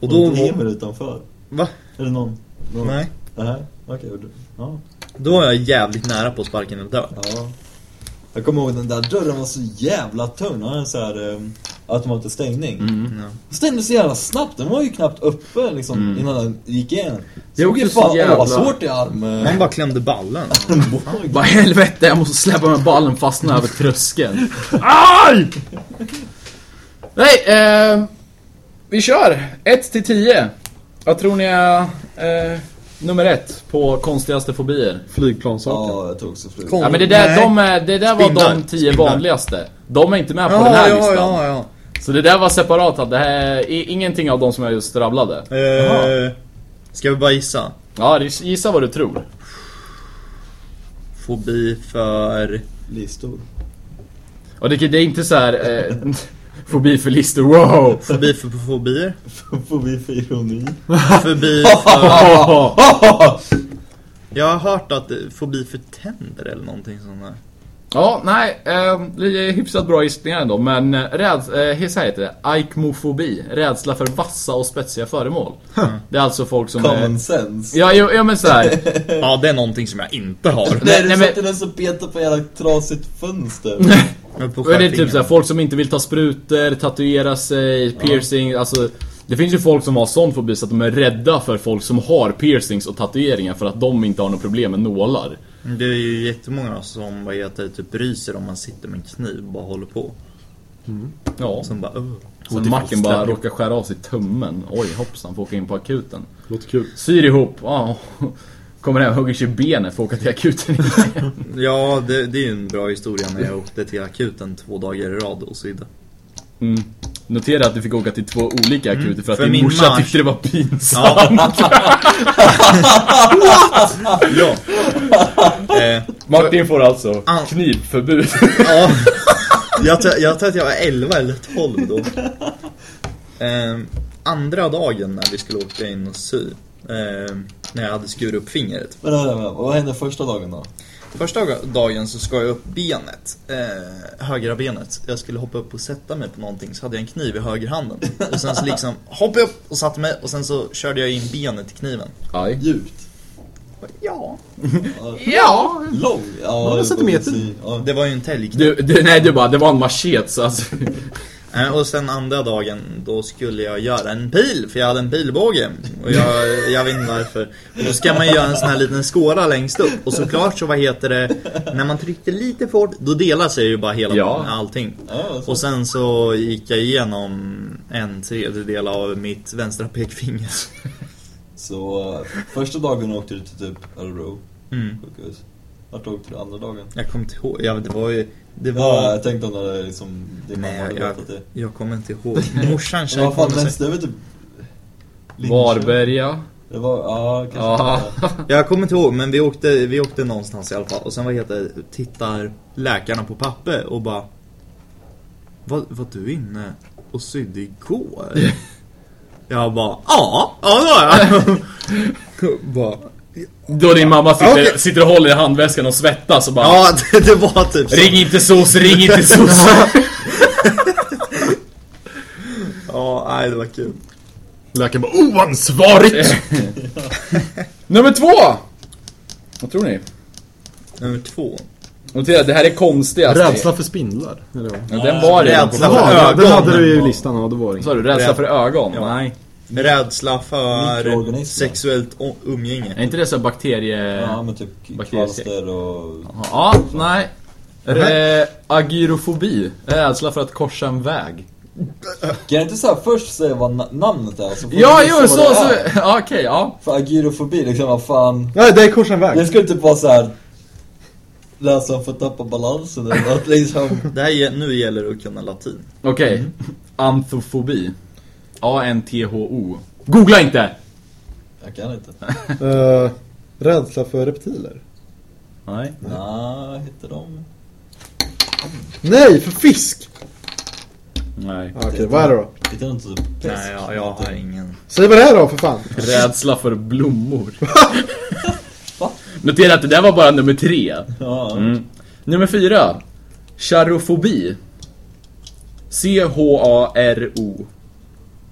[SPEAKER 4] Och
[SPEAKER 3] då...
[SPEAKER 4] då Emil utanför.
[SPEAKER 3] Va?
[SPEAKER 4] Eller någon? någon.
[SPEAKER 3] Nej.
[SPEAKER 4] Nej, okej. och du- Ja.
[SPEAKER 3] Då var jag jävligt nära på att sparka ner dörren.
[SPEAKER 4] ja. Jag kommer ihåg den där dörren var så jävla tunn. Den hade en sån här eh, automatisk stängning.
[SPEAKER 3] Ja.
[SPEAKER 4] Stängdes så jävla snabbt. Den var ju knappt öppen liksom
[SPEAKER 3] Mm.
[SPEAKER 4] innan den gick igen.
[SPEAKER 1] Det är
[SPEAKER 4] Såg
[SPEAKER 1] också
[SPEAKER 4] ju
[SPEAKER 1] så
[SPEAKER 4] fan,
[SPEAKER 1] jävla-
[SPEAKER 4] jävla... vad svårt i arm... eh,
[SPEAKER 3] Man bara klämde ballen.
[SPEAKER 4] armbågen.
[SPEAKER 1] Vad i helvete, jag måste släppa med ballen fastna över tröskeln. Aj! Nej, eh, vi kör. 1 till 10. Vad tror ni är eh, nummer ett på konstigaste fobier?
[SPEAKER 2] Flygplanssaker.
[SPEAKER 4] Ja, jag tog också flyg.
[SPEAKER 3] Kom.
[SPEAKER 1] Ja men det där,
[SPEAKER 3] Nej.
[SPEAKER 1] de är, det där var de
[SPEAKER 3] Spindlar.
[SPEAKER 1] 10
[SPEAKER 3] Spindlar.
[SPEAKER 1] vanligaste. De är inte med på den här listan.
[SPEAKER 3] ja.
[SPEAKER 1] Så det där var separat, att det här är i- ingenting av de som jag just rabblade.
[SPEAKER 3] Eh, ska vi bara gissa?
[SPEAKER 1] Ja, gissa vad du tror.
[SPEAKER 3] Fobi för...
[SPEAKER 4] Listor.
[SPEAKER 1] Och det, det är inte så här eh, fobi för listor, wow!
[SPEAKER 3] Fobi för fobier?
[SPEAKER 4] Fobi för ironi.
[SPEAKER 3] Fobi för...
[SPEAKER 1] Ah.
[SPEAKER 3] Jag har hört att det- fobi för tänder eller någonting sånt där.
[SPEAKER 1] Ja, nej, eh, det är hyfsat bra gissningar ändå, men eh, räds, eh, så här heter det, aikmofobi, rädsla för vassa och spetsiga föremål. Det är alltså folk som
[SPEAKER 4] Common
[SPEAKER 1] är...
[SPEAKER 4] sense.
[SPEAKER 1] Ja, jo, ja men så här.
[SPEAKER 3] Ja, det är någonting som jag inte har.
[SPEAKER 1] Nej,
[SPEAKER 4] Nej, du
[SPEAKER 1] nej,
[SPEAKER 4] satte den som petade på jävla trasigt fönster.
[SPEAKER 3] Men på
[SPEAKER 1] Och det är
[SPEAKER 3] stjärtingen.
[SPEAKER 1] typ såhär, folk som inte vill ta sprutor, tatuera sig, piercing, alltså Det finns ju folk som har sån fobi så att de är rädda för folk som har piercings och tatueringar för att de inte har något problem med nålar
[SPEAKER 3] Det är ju jättemånga som vad heter, det, typ bryr sig om man sitter med en kniv och bara håller på.
[SPEAKER 1] Ja,
[SPEAKER 3] Och sen bara öh.
[SPEAKER 1] sen macken bara råkar skära av sig tummen, oj hoppsan, får åka in på akuten
[SPEAKER 2] Låter kul.
[SPEAKER 1] Syr ihop, ja Kommer hem, hugger sig i benet, får åka till akuten igen
[SPEAKER 3] Ja, det, det är ju en bra historia när jag åkte till akuten två dagar i rad och sydde.
[SPEAKER 1] mm. Notera att du fick åka till två olika akuter för att
[SPEAKER 3] Mm. för
[SPEAKER 1] din
[SPEAKER 3] min
[SPEAKER 1] morsa
[SPEAKER 3] mars.
[SPEAKER 1] tyckte det var pinsamt
[SPEAKER 3] Ja. ja. Eh,
[SPEAKER 1] Martin får alltså
[SPEAKER 3] Ah.
[SPEAKER 1] knivförbud
[SPEAKER 3] ja. Jag, tror- jag tror att jag var 11 eller 12 då. Eh, andra dagen när vi skulle åka in och sy. Eh, när jag hade skurit upp fingret.
[SPEAKER 4] Men, nej, nej, nej. vad hände första dagen då?
[SPEAKER 3] Första dagen så skar jag upp benet, eh, högra benet. Jag skulle hoppa upp och sätta mig på någonting så hade jag en kniv i högerhanden. Och sen så liksom hoppade jag upp och satte mig och sen så körde jag in benet i kniven.
[SPEAKER 1] Aj.
[SPEAKER 4] Djupt.
[SPEAKER 3] Ja.
[SPEAKER 1] Ja!
[SPEAKER 4] Lång. Ja,
[SPEAKER 2] Några
[SPEAKER 4] det-
[SPEAKER 2] centimeter.
[SPEAKER 4] Ja.
[SPEAKER 3] Det var ju en täljkniv.
[SPEAKER 1] Du, du, nej du bara, det var en machete så alltså.
[SPEAKER 3] Eh, Och sen andra dagen, då skulle jag göra en pil, för jag hade en pilbåge. Och jag, jag vet inte varför. Och då ska man ju göra en sån här liten skåla längst upp. Och såklart så, vad heter det, när man tryckte lite för hårt, då delar sig ju bara hela
[SPEAKER 1] Ja.
[SPEAKER 3] allting.
[SPEAKER 4] Ja, så.
[SPEAKER 3] Och sen så gick jag igenom en tredjedel av mitt vänstra pekfinger.
[SPEAKER 4] så eh, första dagen åkte du till typ Örebro
[SPEAKER 3] Mm.
[SPEAKER 4] sjukhus. Vart åkte du andra dagen?
[SPEAKER 3] Jag kommer inte ihåg, ja, det var ju... Det
[SPEAKER 4] Ja,
[SPEAKER 3] var...
[SPEAKER 4] jag tänkte om det hade liksom, din mamma
[SPEAKER 3] Nej,
[SPEAKER 4] hade
[SPEAKER 3] jag,
[SPEAKER 4] berättat det.
[SPEAKER 3] jag kommer inte ihåg. Morsan
[SPEAKER 4] Men vad fan,
[SPEAKER 3] kommer sig-
[SPEAKER 4] nästa är väl typ... Linköping?
[SPEAKER 1] Varberga.
[SPEAKER 4] Det var, ja, kanske.
[SPEAKER 1] Ja.
[SPEAKER 3] Jag kommer inte ihåg, men vi åkte, vi åkte någonstans i alla fall. Och sen vad heter det, tittar läkarna på papper och bara... Var, var du inne och sydde igår? Jag bara, ja, ja det var jag. bara,
[SPEAKER 1] Då din mamma sitter,
[SPEAKER 3] Ah, Okej.
[SPEAKER 1] sitter och håller i handväskan och svettas och bara
[SPEAKER 3] ja, det, det var typ så.
[SPEAKER 1] Ring inte SOS, ring inte SOS.
[SPEAKER 3] Ja, nej det var kul.
[SPEAKER 2] Läkaren bara oansvarigt!
[SPEAKER 1] Nummer två! Vad tror ni?
[SPEAKER 3] Nummer två.
[SPEAKER 1] Notera, det här är konstigast.
[SPEAKER 2] Rädsla för spindlar. Eller vad?
[SPEAKER 1] Ja, den var redan på
[SPEAKER 3] Rädsla
[SPEAKER 2] Jaha,
[SPEAKER 3] för
[SPEAKER 2] den hade
[SPEAKER 3] ögonen.
[SPEAKER 2] du ju i listan. Ja, det var det.
[SPEAKER 1] Vad sa du? Rädsla
[SPEAKER 3] Rädsla.
[SPEAKER 1] för ögon?
[SPEAKER 3] Ja. Mm.
[SPEAKER 1] Nej.
[SPEAKER 3] Rädsla för
[SPEAKER 4] Mikroorganismer.
[SPEAKER 3] sexuellt o-
[SPEAKER 1] Är
[SPEAKER 3] umgänge.
[SPEAKER 1] inte det så här bakterie...
[SPEAKER 4] Ja men typ
[SPEAKER 1] Bakterier.
[SPEAKER 4] kvalster och...
[SPEAKER 1] Ja, nej. Eh, agyrofobi. Rädsla för att korsa en väg.
[SPEAKER 4] Kan jag inte så här först säga vad na- namnet är? Så får
[SPEAKER 1] Ja,
[SPEAKER 4] vi
[SPEAKER 1] jo,
[SPEAKER 4] gissa vad
[SPEAKER 1] så,
[SPEAKER 4] det
[SPEAKER 1] så.
[SPEAKER 4] är.
[SPEAKER 1] Ja, Okej, ja.
[SPEAKER 4] För agyrofobi, liksom vad fan.
[SPEAKER 2] Nej, det är korsa en väg.
[SPEAKER 4] Det skulle typ vara så här. Läsaren får tappa balansen eller något liksom.
[SPEAKER 3] Det här, ge- nu gäller det att kunna latin.
[SPEAKER 1] Okej. Antofobi. A-N-T-H-O. Googla inte!
[SPEAKER 4] Jag kan inte.
[SPEAKER 2] Eh, rädsla för reptiler.
[SPEAKER 1] Nej.
[SPEAKER 4] Nej, hittar de?
[SPEAKER 2] Nej, för fisk!
[SPEAKER 1] Nej.
[SPEAKER 2] Ah, Okej, vad är det då?
[SPEAKER 4] Hittar de inte typ pest?
[SPEAKER 3] Nej, jag, jag har ingen.
[SPEAKER 2] Säg vad det är då för fan.
[SPEAKER 1] Rädsla för blommor. Notera att det där var bara nummer tre.
[SPEAKER 4] Ja.
[SPEAKER 1] Mm. Nummer fyra. Charofobi. C-H-A-R-O.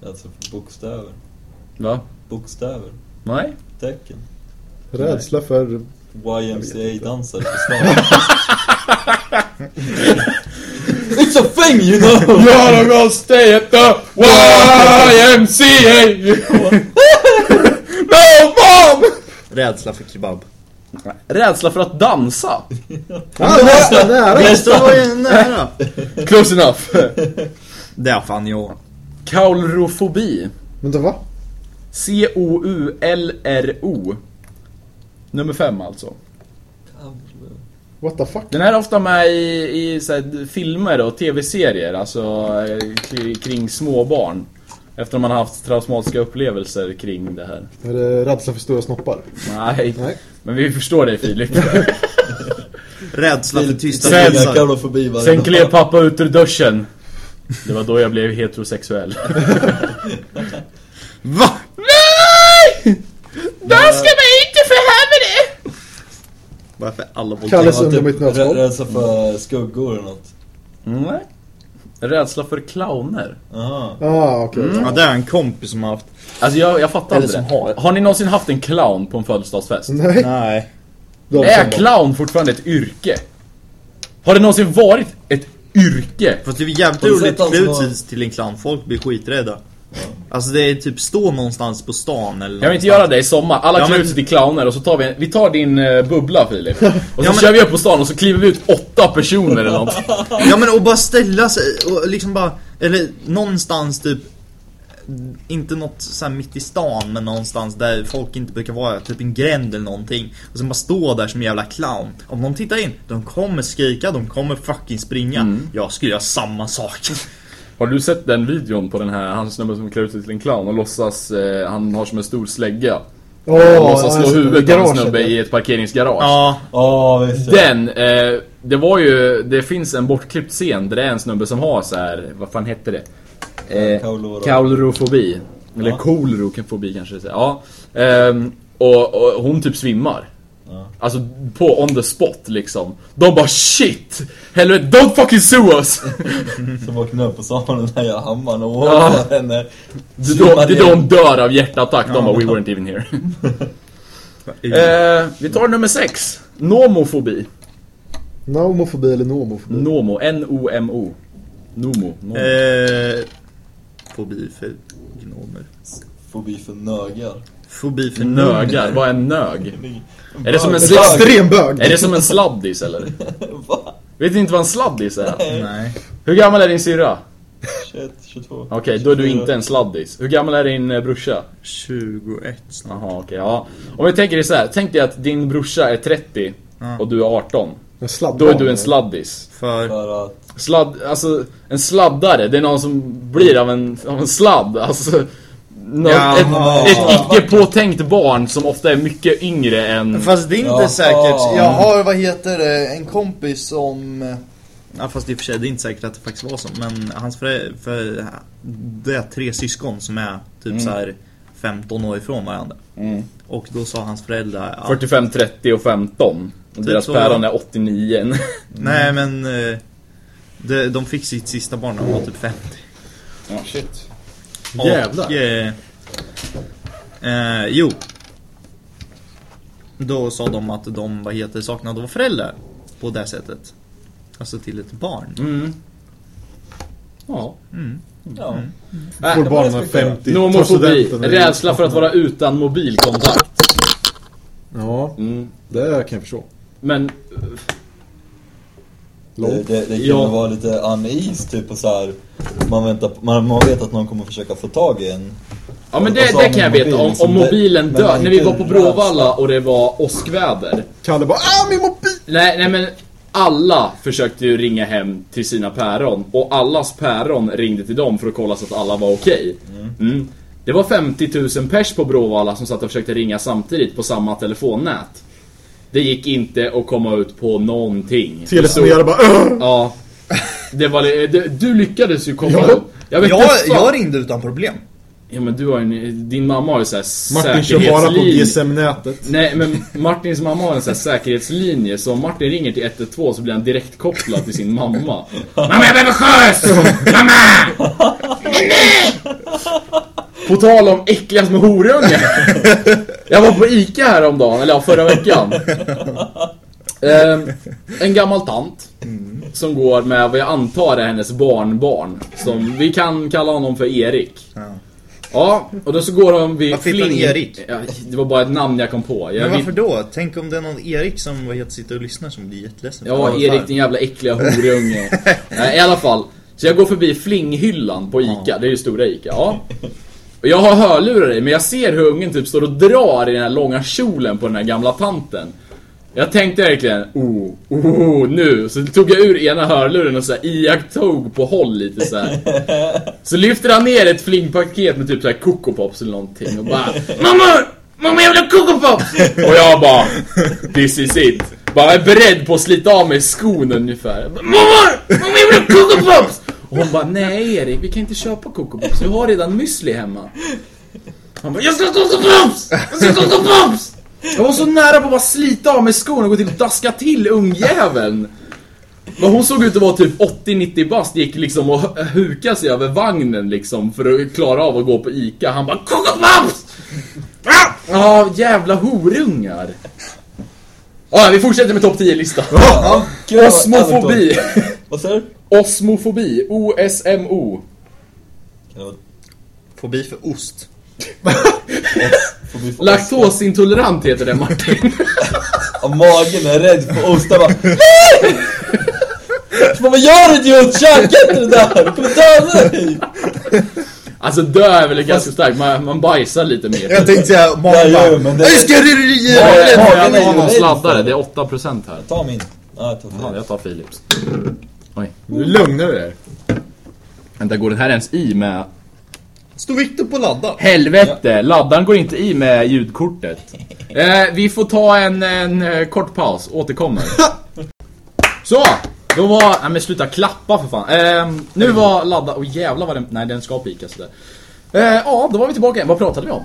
[SPEAKER 4] Alltså för bokstäver.
[SPEAKER 1] Va?
[SPEAKER 4] Bokstäver.
[SPEAKER 1] Nej?
[SPEAKER 4] Tecken.
[SPEAKER 2] Rädsla för...
[SPEAKER 4] YMCA-dansare på stan. It's a thing you know!
[SPEAKER 1] You're gonna stay at the YMCA! no mom!
[SPEAKER 3] Rädsla för kebab.
[SPEAKER 1] Rädsla för att dansa.
[SPEAKER 2] Ah, nära, nära!
[SPEAKER 3] Det var ju nära.
[SPEAKER 1] Close enough.
[SPEAKER 3] Det är fan jag.
[SPEAKER 1] Kaulrofobi.
[SPEAKER 2] Vänta, va?
[SPEAKER 1] C-O-U-L-R-O. Nummer fem alltså.
[SPEAKER 2] What the fuck?
[SPEAKER 1] Den här är ofta med i, i så här, filmer och tv-serier, alltså eh, kri- kring småbarn. Efter man har haft traumatiska upplevelser kring det här.
[SPEAKER 2] Är det rädsla för stora snoppar?
[SPEAKER 1] Nej,
[SPEAKER 2] Nej.
[SPEAKER 1] men vi förstår dig Filip.
[SPEAKER 3] Rädsla för tysta
[SPEAKER 1] Sen-
[SPEAKER 4] Jag
[SPEAKER 3] pälsar.
[SPEAKER 4] kan förbi varje
[SPEAKER 1] Sen klev pappa ut ur duschen. Det var då jag blev heterosexuell.
[SPEAKER 3] Va?
[SPEAKER 1] Nej! Daska mig inte för helvete!
[SPEAKER 3] Varför alla
[SPEAKER 2] Kalle
[SPEAKER 3] våldtäkter?
[SPEAKER 2] Kallas
[SPEAKER 1] typ.
[SPEAKER 2] under mitt nötskal.
[SPEAKER 4] Rädsla för skuggor eller något.
[SPEAKER 1] Nej. Mm. Rädsla för clowner.
[SPEAKER 4] Aha.
[SPEAKER 2] Ah, okej.
[SPEAKER 3] Ja, det är en kompis som har haft.
[SPEAKER 1] Alltså jag, jag fattar
[SPEAKER 3] Eller
[SPEAKER 1] inte det.
[SPEAKER 3] som har. Mm.
[SPEAKER 1] Har ni någonsin haft en clown på en födelsedagsfest?
[SPEAKER 2] Nej.
[SPEAKER 3] Nej.
[SPEAKER 2] de som
[SPEAKER 1] Är
[SPEAKER 2] var-
[SPEAKER 1] clown fortfarande ett yrke? Har det någonsin varit ett yrke?
[SPEAKER 3] Fast det är jävligt
[SPEAKER 4] Har du
[SPEAKER 3] roligt
[SPEAKER 4] sett han
[SPEAKER 3] att klä
[SPEAKER 4] som
[SPEAKER 3] ut
[SPEAKER 4] har-
[SPEAKER 3] sig till en clown. Folk blir skiträdda. Alltså det är typ stå någonstans på stan eller
[SPEAKER 1] Kan vi inte göra det i sommar? Alla
[SPEAKER 3] Ja,
[SPEAKER 1] klär
[SPEAKER 3] men-
[SPEAKER 1] ut sig till clowner och så tar vi, vi tar din eh, bubbla Filip. Och så
[SPEAKER 3] Ja, men-
[SPEAKER 1] kör vi upp på stan och så kliver vi ut åtta personer eller något.
[SPEAKER 3] Ja men och bara ställa sig och liksom bara, eller någonstans typ inte något såhär mitt i stan men någonstans där folk inte brukar vara, typ en gränd eller någonting. Och sen bara stå där som en jävla clown. Om någon tittar in, de kommer skrika, de kommer fucking springa. Jag skulle göra samma sak.
[SPEAKER 1] Har du sett den videon på den här, han snubben som klär ut sig till en clown och låtsas, eh, han har som en stor slägga.
[SPEAKER 2] Åh,
[SPEAKER 1] Och
[SPEAKER 2] jag
[SPEAKER 1] låtsas slå
[SPEAKER 2] har sett det.
[SPEAKER 1] huvudet av en
[SPEAKER 2] Garaget,
[SPEAKER 1] snubbe
[SPEAKER 2] ja.
[SPEAKER 1] i ett parkeringsgarage.
[SPEAKER 3] Ja,
[SPEAKER 4] Ja, visst. ja.
[SPEAKER 1] Den, eh, det var ju, det finns en bortklippt scen där det är en snubbe som har så här, vad fan hette det? Eh,
[SPEAKER 4] Kauloro.
[SPEAKER 1] kaulrofobi. Eller
[SPEAKER 4] Ja.
[SPEAKER 1] kolrofobi kanske det heter. Ja. Ehm, och, och hon typ svimmar.
[SPEAKER 4] Ja.
[SPEAKER 1] Alltså på on the spot liksom. De bara shit! Helvete, don't fucking sue us!
[SPEAKER 4] Så vaknade jag upp och sa hon den där jävla hammaren och åt
[SPEAKER 1] Ja.
[SPEAKER 4] henne.
[SPEAKER 1] Det är då- det är då de dör av hjärtattack. De bara we weren't even here. eh, vi tar nummer sex. Nomofobi.
[SPEAKER 2] Nomofobi eller nomofobi?
[SPEAKER 1] Nomo, N-O-M-O. Nomo. Nomo.
[SPEAKER 3] eh, fobi för gnomer.
[SPEAKER 4] Fobi för nögar.
[SPEAKER 3] Fobi för
[SPEAKER 1] Nögar, vad är en nög? Är det som en sladd?
[SPEAKER 2] Extrembög!
[SPEAKER 1] Är det som en sladdis eller?
[SPEAKER 4] Va?
[SPEAKER 1] Vet ni inte vad en sladdis är?
[SPEAKER 3] Nej.
[SPEAKER 1] Hur gammal är din syrra?
[SPEAKER 4] 21, 22.
[SPEAKER 1] Okej, då är du inte en sladdis. Hur gammal är din eh, brorsa?
[SPEAKER 3] 21 snart.
[SPEAKER 1] Jaha, okej, ja. Om vi tänker det så här. tänk dig att din brorsa är 30
[SPEAKER 3] Ja.
[SPEAKER 1] och du är 18.
[SPEAKER 2] En sladdare.
[SPEAKER 1] Då är du en sladdis.
[SPEAKER 3] För,
[SPEAKER 4] För att...
[SPEAKER 1] Sladd, alltså en sladdare, det är någon som blir av en, av en sladd. Alltså, nå-
[SPEAKER 3] Jaha.
[SPEAKER 1] ett, ett icke påtänkt barn som ofta är mycket yngre än...
[SPEAKER 3] fast det är inte
[SPEAKER 4] Jaha.
[SPEAKER 3] säkert. Jag har, vad heter det, en kompis som... Ja fast i och för sig, det är inte säkert att det faktiskt var så. Men hans för, för det är tre syskon som är typ så här 15 år ifrån varandra. Och då sa hans föräldrar att,
[SPEAKER 1] 45, 30 och 15. Och
[SPEAKER 4] Typ
[SPEAKER 1] deras
[SPEAKER 3] så.
[SPEAKER 1] päron är 89.
[SPEAKER 3] nej men eh, de, de fick sitt sista barn när de var typ 50.
[SPEAKER 1] Ja, shit.
[SPEAKER 3] Och,
[SPEAKER 2] Jävlar.
[SPEAKER 3] eh, eh, jo. Då sa de att de, vad heter det, saknade att vara föräldrar. På det sättet. Alltså till ett barn.
[SPEAKER 1] Ja.
[SPEAKER 4] Ja.
[SPEAKER 1] Äh,
[SPEAKER 2] Får barnen 50 tar
[SPEAKER 1] Nomofobi.
[SPEAKER 2] studenten och-
[SPEAKER 1] Rädsla för att vara utan mobilkontakt.
[SPEAKER 2] Ja,
[SPEAKER 1] Mm.
[SPEAKER 2] det kan jag förstå.
[SPEAKER 1] Men
[SPEAKER 4] Det,
[SPEAKER 2] Långt.
[SPEAKER 4] det, det kan
[SPEAKER 1] Ja.
[SPEAKER 4] ju vara lite unease, typ och så här. Man, väntar, på- man, man vet att någon kommer försöka få tag i en.
[SPEAKER 1] Ja men
[SPEAKER 4] Och
[SPEAKER 1] det,
[SPEAKER 4] så
[SPEAKER 1] det
[SPEAKER 4] har
[SPEAKER 1] kan jag
[SPEAKER 4] man
[SPEAKER 1] veta, om,
[SPEAKER 4] mobil,
[SPEAKER 1] om
[SPEAKER 4] liksom.
[SPEAKER 1] mobilen
[SPEAKER 4] Det- men
[SPEAKER 1] dör.
[SPEAKER 4] man
[SPEAKER 1] När vi
[SPEAKER 4] inte
[SPEAKER 1] var på
[SPEAKER 4] rädsla.
[SPEAKER 1] Bråvalla och det var åskväder.
[SPEAKER 2] Kalle bara ah min mobil!
[SPEAKER 1] Nej, nej men alla försökte ju ringa hem till sina päron och allas päron ringde till dem för att kolla så att alla var okej. Mm. Det var 50 000 pers på Bråvalla som satt och försökte ringa samtidigt på samma telefonnät. Det gick inte att komma ut på någonting.
[SPEAKER 2] Telesmedjare bara "Åh!"
[SPEAKER 1] Ja. Det var, det- du, du lyckades ju komma
[SPEAKER 2] Ja.
[SPEAKER 1] upp. Jag vet
[SPEAKER 3] Jag,
[SPEAKER 1] inte fan.
[SPEAKER 3] jag ringde utan problem.
[SPEAKER 1] Alltså. Ja men du har ju, en- din mamma har ju såhär
[SPEAKER 2] Martin kör bara på
[SPEAKER 1] säkerhetslinje.
[SPEAKER 2] GSM-nätet.
[SPEAKER 1] Nej men Martins mamma har en sån här säkerhetslinje så om Martin ringer till 112 så blir han direkt kopplad till sin mamma. Mamma jag behöver skjuts! Mamma! På tal om äckliga små horungar. Jag var på ICA häromdagen, eller ja, förra veckan. Ehm, en gammal tant som går med vad jag antar är hennes barnbarn. Som vi kan kalla honom för Erik. Ja, och då så går de vid
[SPEAKER 3] Varför heter han
[SPEAKER 1] Fling-
[SPEAKER 3] Erik?
[SPEAKER 1] Ja, det var bara ett namn jag kom på. Jag
[SPEAKER 3] Men
[SPEAKER 1] vet-
[SPEAKER 3] varför då? Tänk om det är någon Erik som vad heter, sitter och lyssnar som blir jätteledsen.
[SPEAKER 1] Ja, Erik din jävla äckliga horunge. Nej, I alla fall. Så jag går förbi flinghyllan på ICA, det är ju stora ICA. Ja. Och jag har hörlurar i, men jag ser hur ungen typ står och drar i den här långa kjolen på den här gamla tanten. Jag tänkte verkligen, oh, oh, nu. Så tog jag ur ena hörluren och så här iakttog på håll lite så här. Så lyfter han ner ett flingpaket med typ så här Coco Pops eller någonting och bara Mamma! Mamma jag vill ha Coco Pops! Och jag bara This is it. Bara är beredd på att slita av mig skon ungefär. Jag bara, Mamma! Mamma jag vill ha Coco Pops! Och hon bara Nej Erik vi kan inte köpa Coco Pops. Du har redan müsli hemma. Han bara Jag ska ha Coco Pops! Jag ska ha Coco Pops! Jag var så nära på att bara slita av mig skon och gå till och daska till ungjäveln. Men hon såg ut att vara typ 80-90 bast, gick liksom och hu- hukade sig över vagnen liksom för att klara av att gå på ICA. Han bara Coco Pops! Ah! Ja, jävla horungar. Ja, vi fortsätter med topp 10-listan.
[SPEAKER 4] Ja, gud, vad-
[SPEAKER 1] Osmofobi.
[SPEAKER 4] Vad säger du?
[SPEAKER 1] Osmofobi. O-S-M-O.
[SPEAKER 4] Kan det vara
[SPEAKER 3] Fobi för ost.
[SPEAKER 4] fobi för ost?
[SPEAKER 1] Laktosintolerant heter det Martin.
[SPEAKER 4] Ja, magen är rädd för ostar bara Fan vad gör du idiot? Käka inte det där! Du kommer döda dig!
[SPEAKER 1] Alltså dö är väl ganska starkt, man, man bajsar lite mer.
[SPEAKER 3] Jag tänkte säga
[SPEAKER 4] Ja,
[SPEAKER 3] magen
[SPEAKER 4] jo,
[SPEAKER 3] bara,
[SPEAKER 4] men det-
[SPEAKER 3] "Jag ska röra
[SPEAKER 4] Ja,
[SPEAKER 3] röra."
[SPEAKER 4] ja.
[SPEAKER 1] Magen
[SPEAKER 4] är ju
[SPEAKER 1] har någon
[SPEAKER 4] rädd
[SPEAKER 1] sladdare, det är 8% här.
[SPEAKER 4] Ta min. Ja, jag tar
[SPEAKER 1] Fan,
[SPEAKER 4] fel.
[SPEAKER 1] jag tar Philips.
[SPEAKER 2] Nu lugnar du dig.
[SPEAKER 1] Vänta, går den här ens i med...
[SPEAKER 3] Står Viktor på ladda?
[SPEAKER 1] Helvete! Laddaren går inte i med ljudkortet. Eh, vi får ta en, en eh, kort paus, återkommer. Så! Då var... Nej men sluta klappa för fan. Eh, nu var ladda... Åh jävlar vad den... Nej den ska pika sådär. Eh, ja, då var vi tillbaka igen. Vad pratade vi om?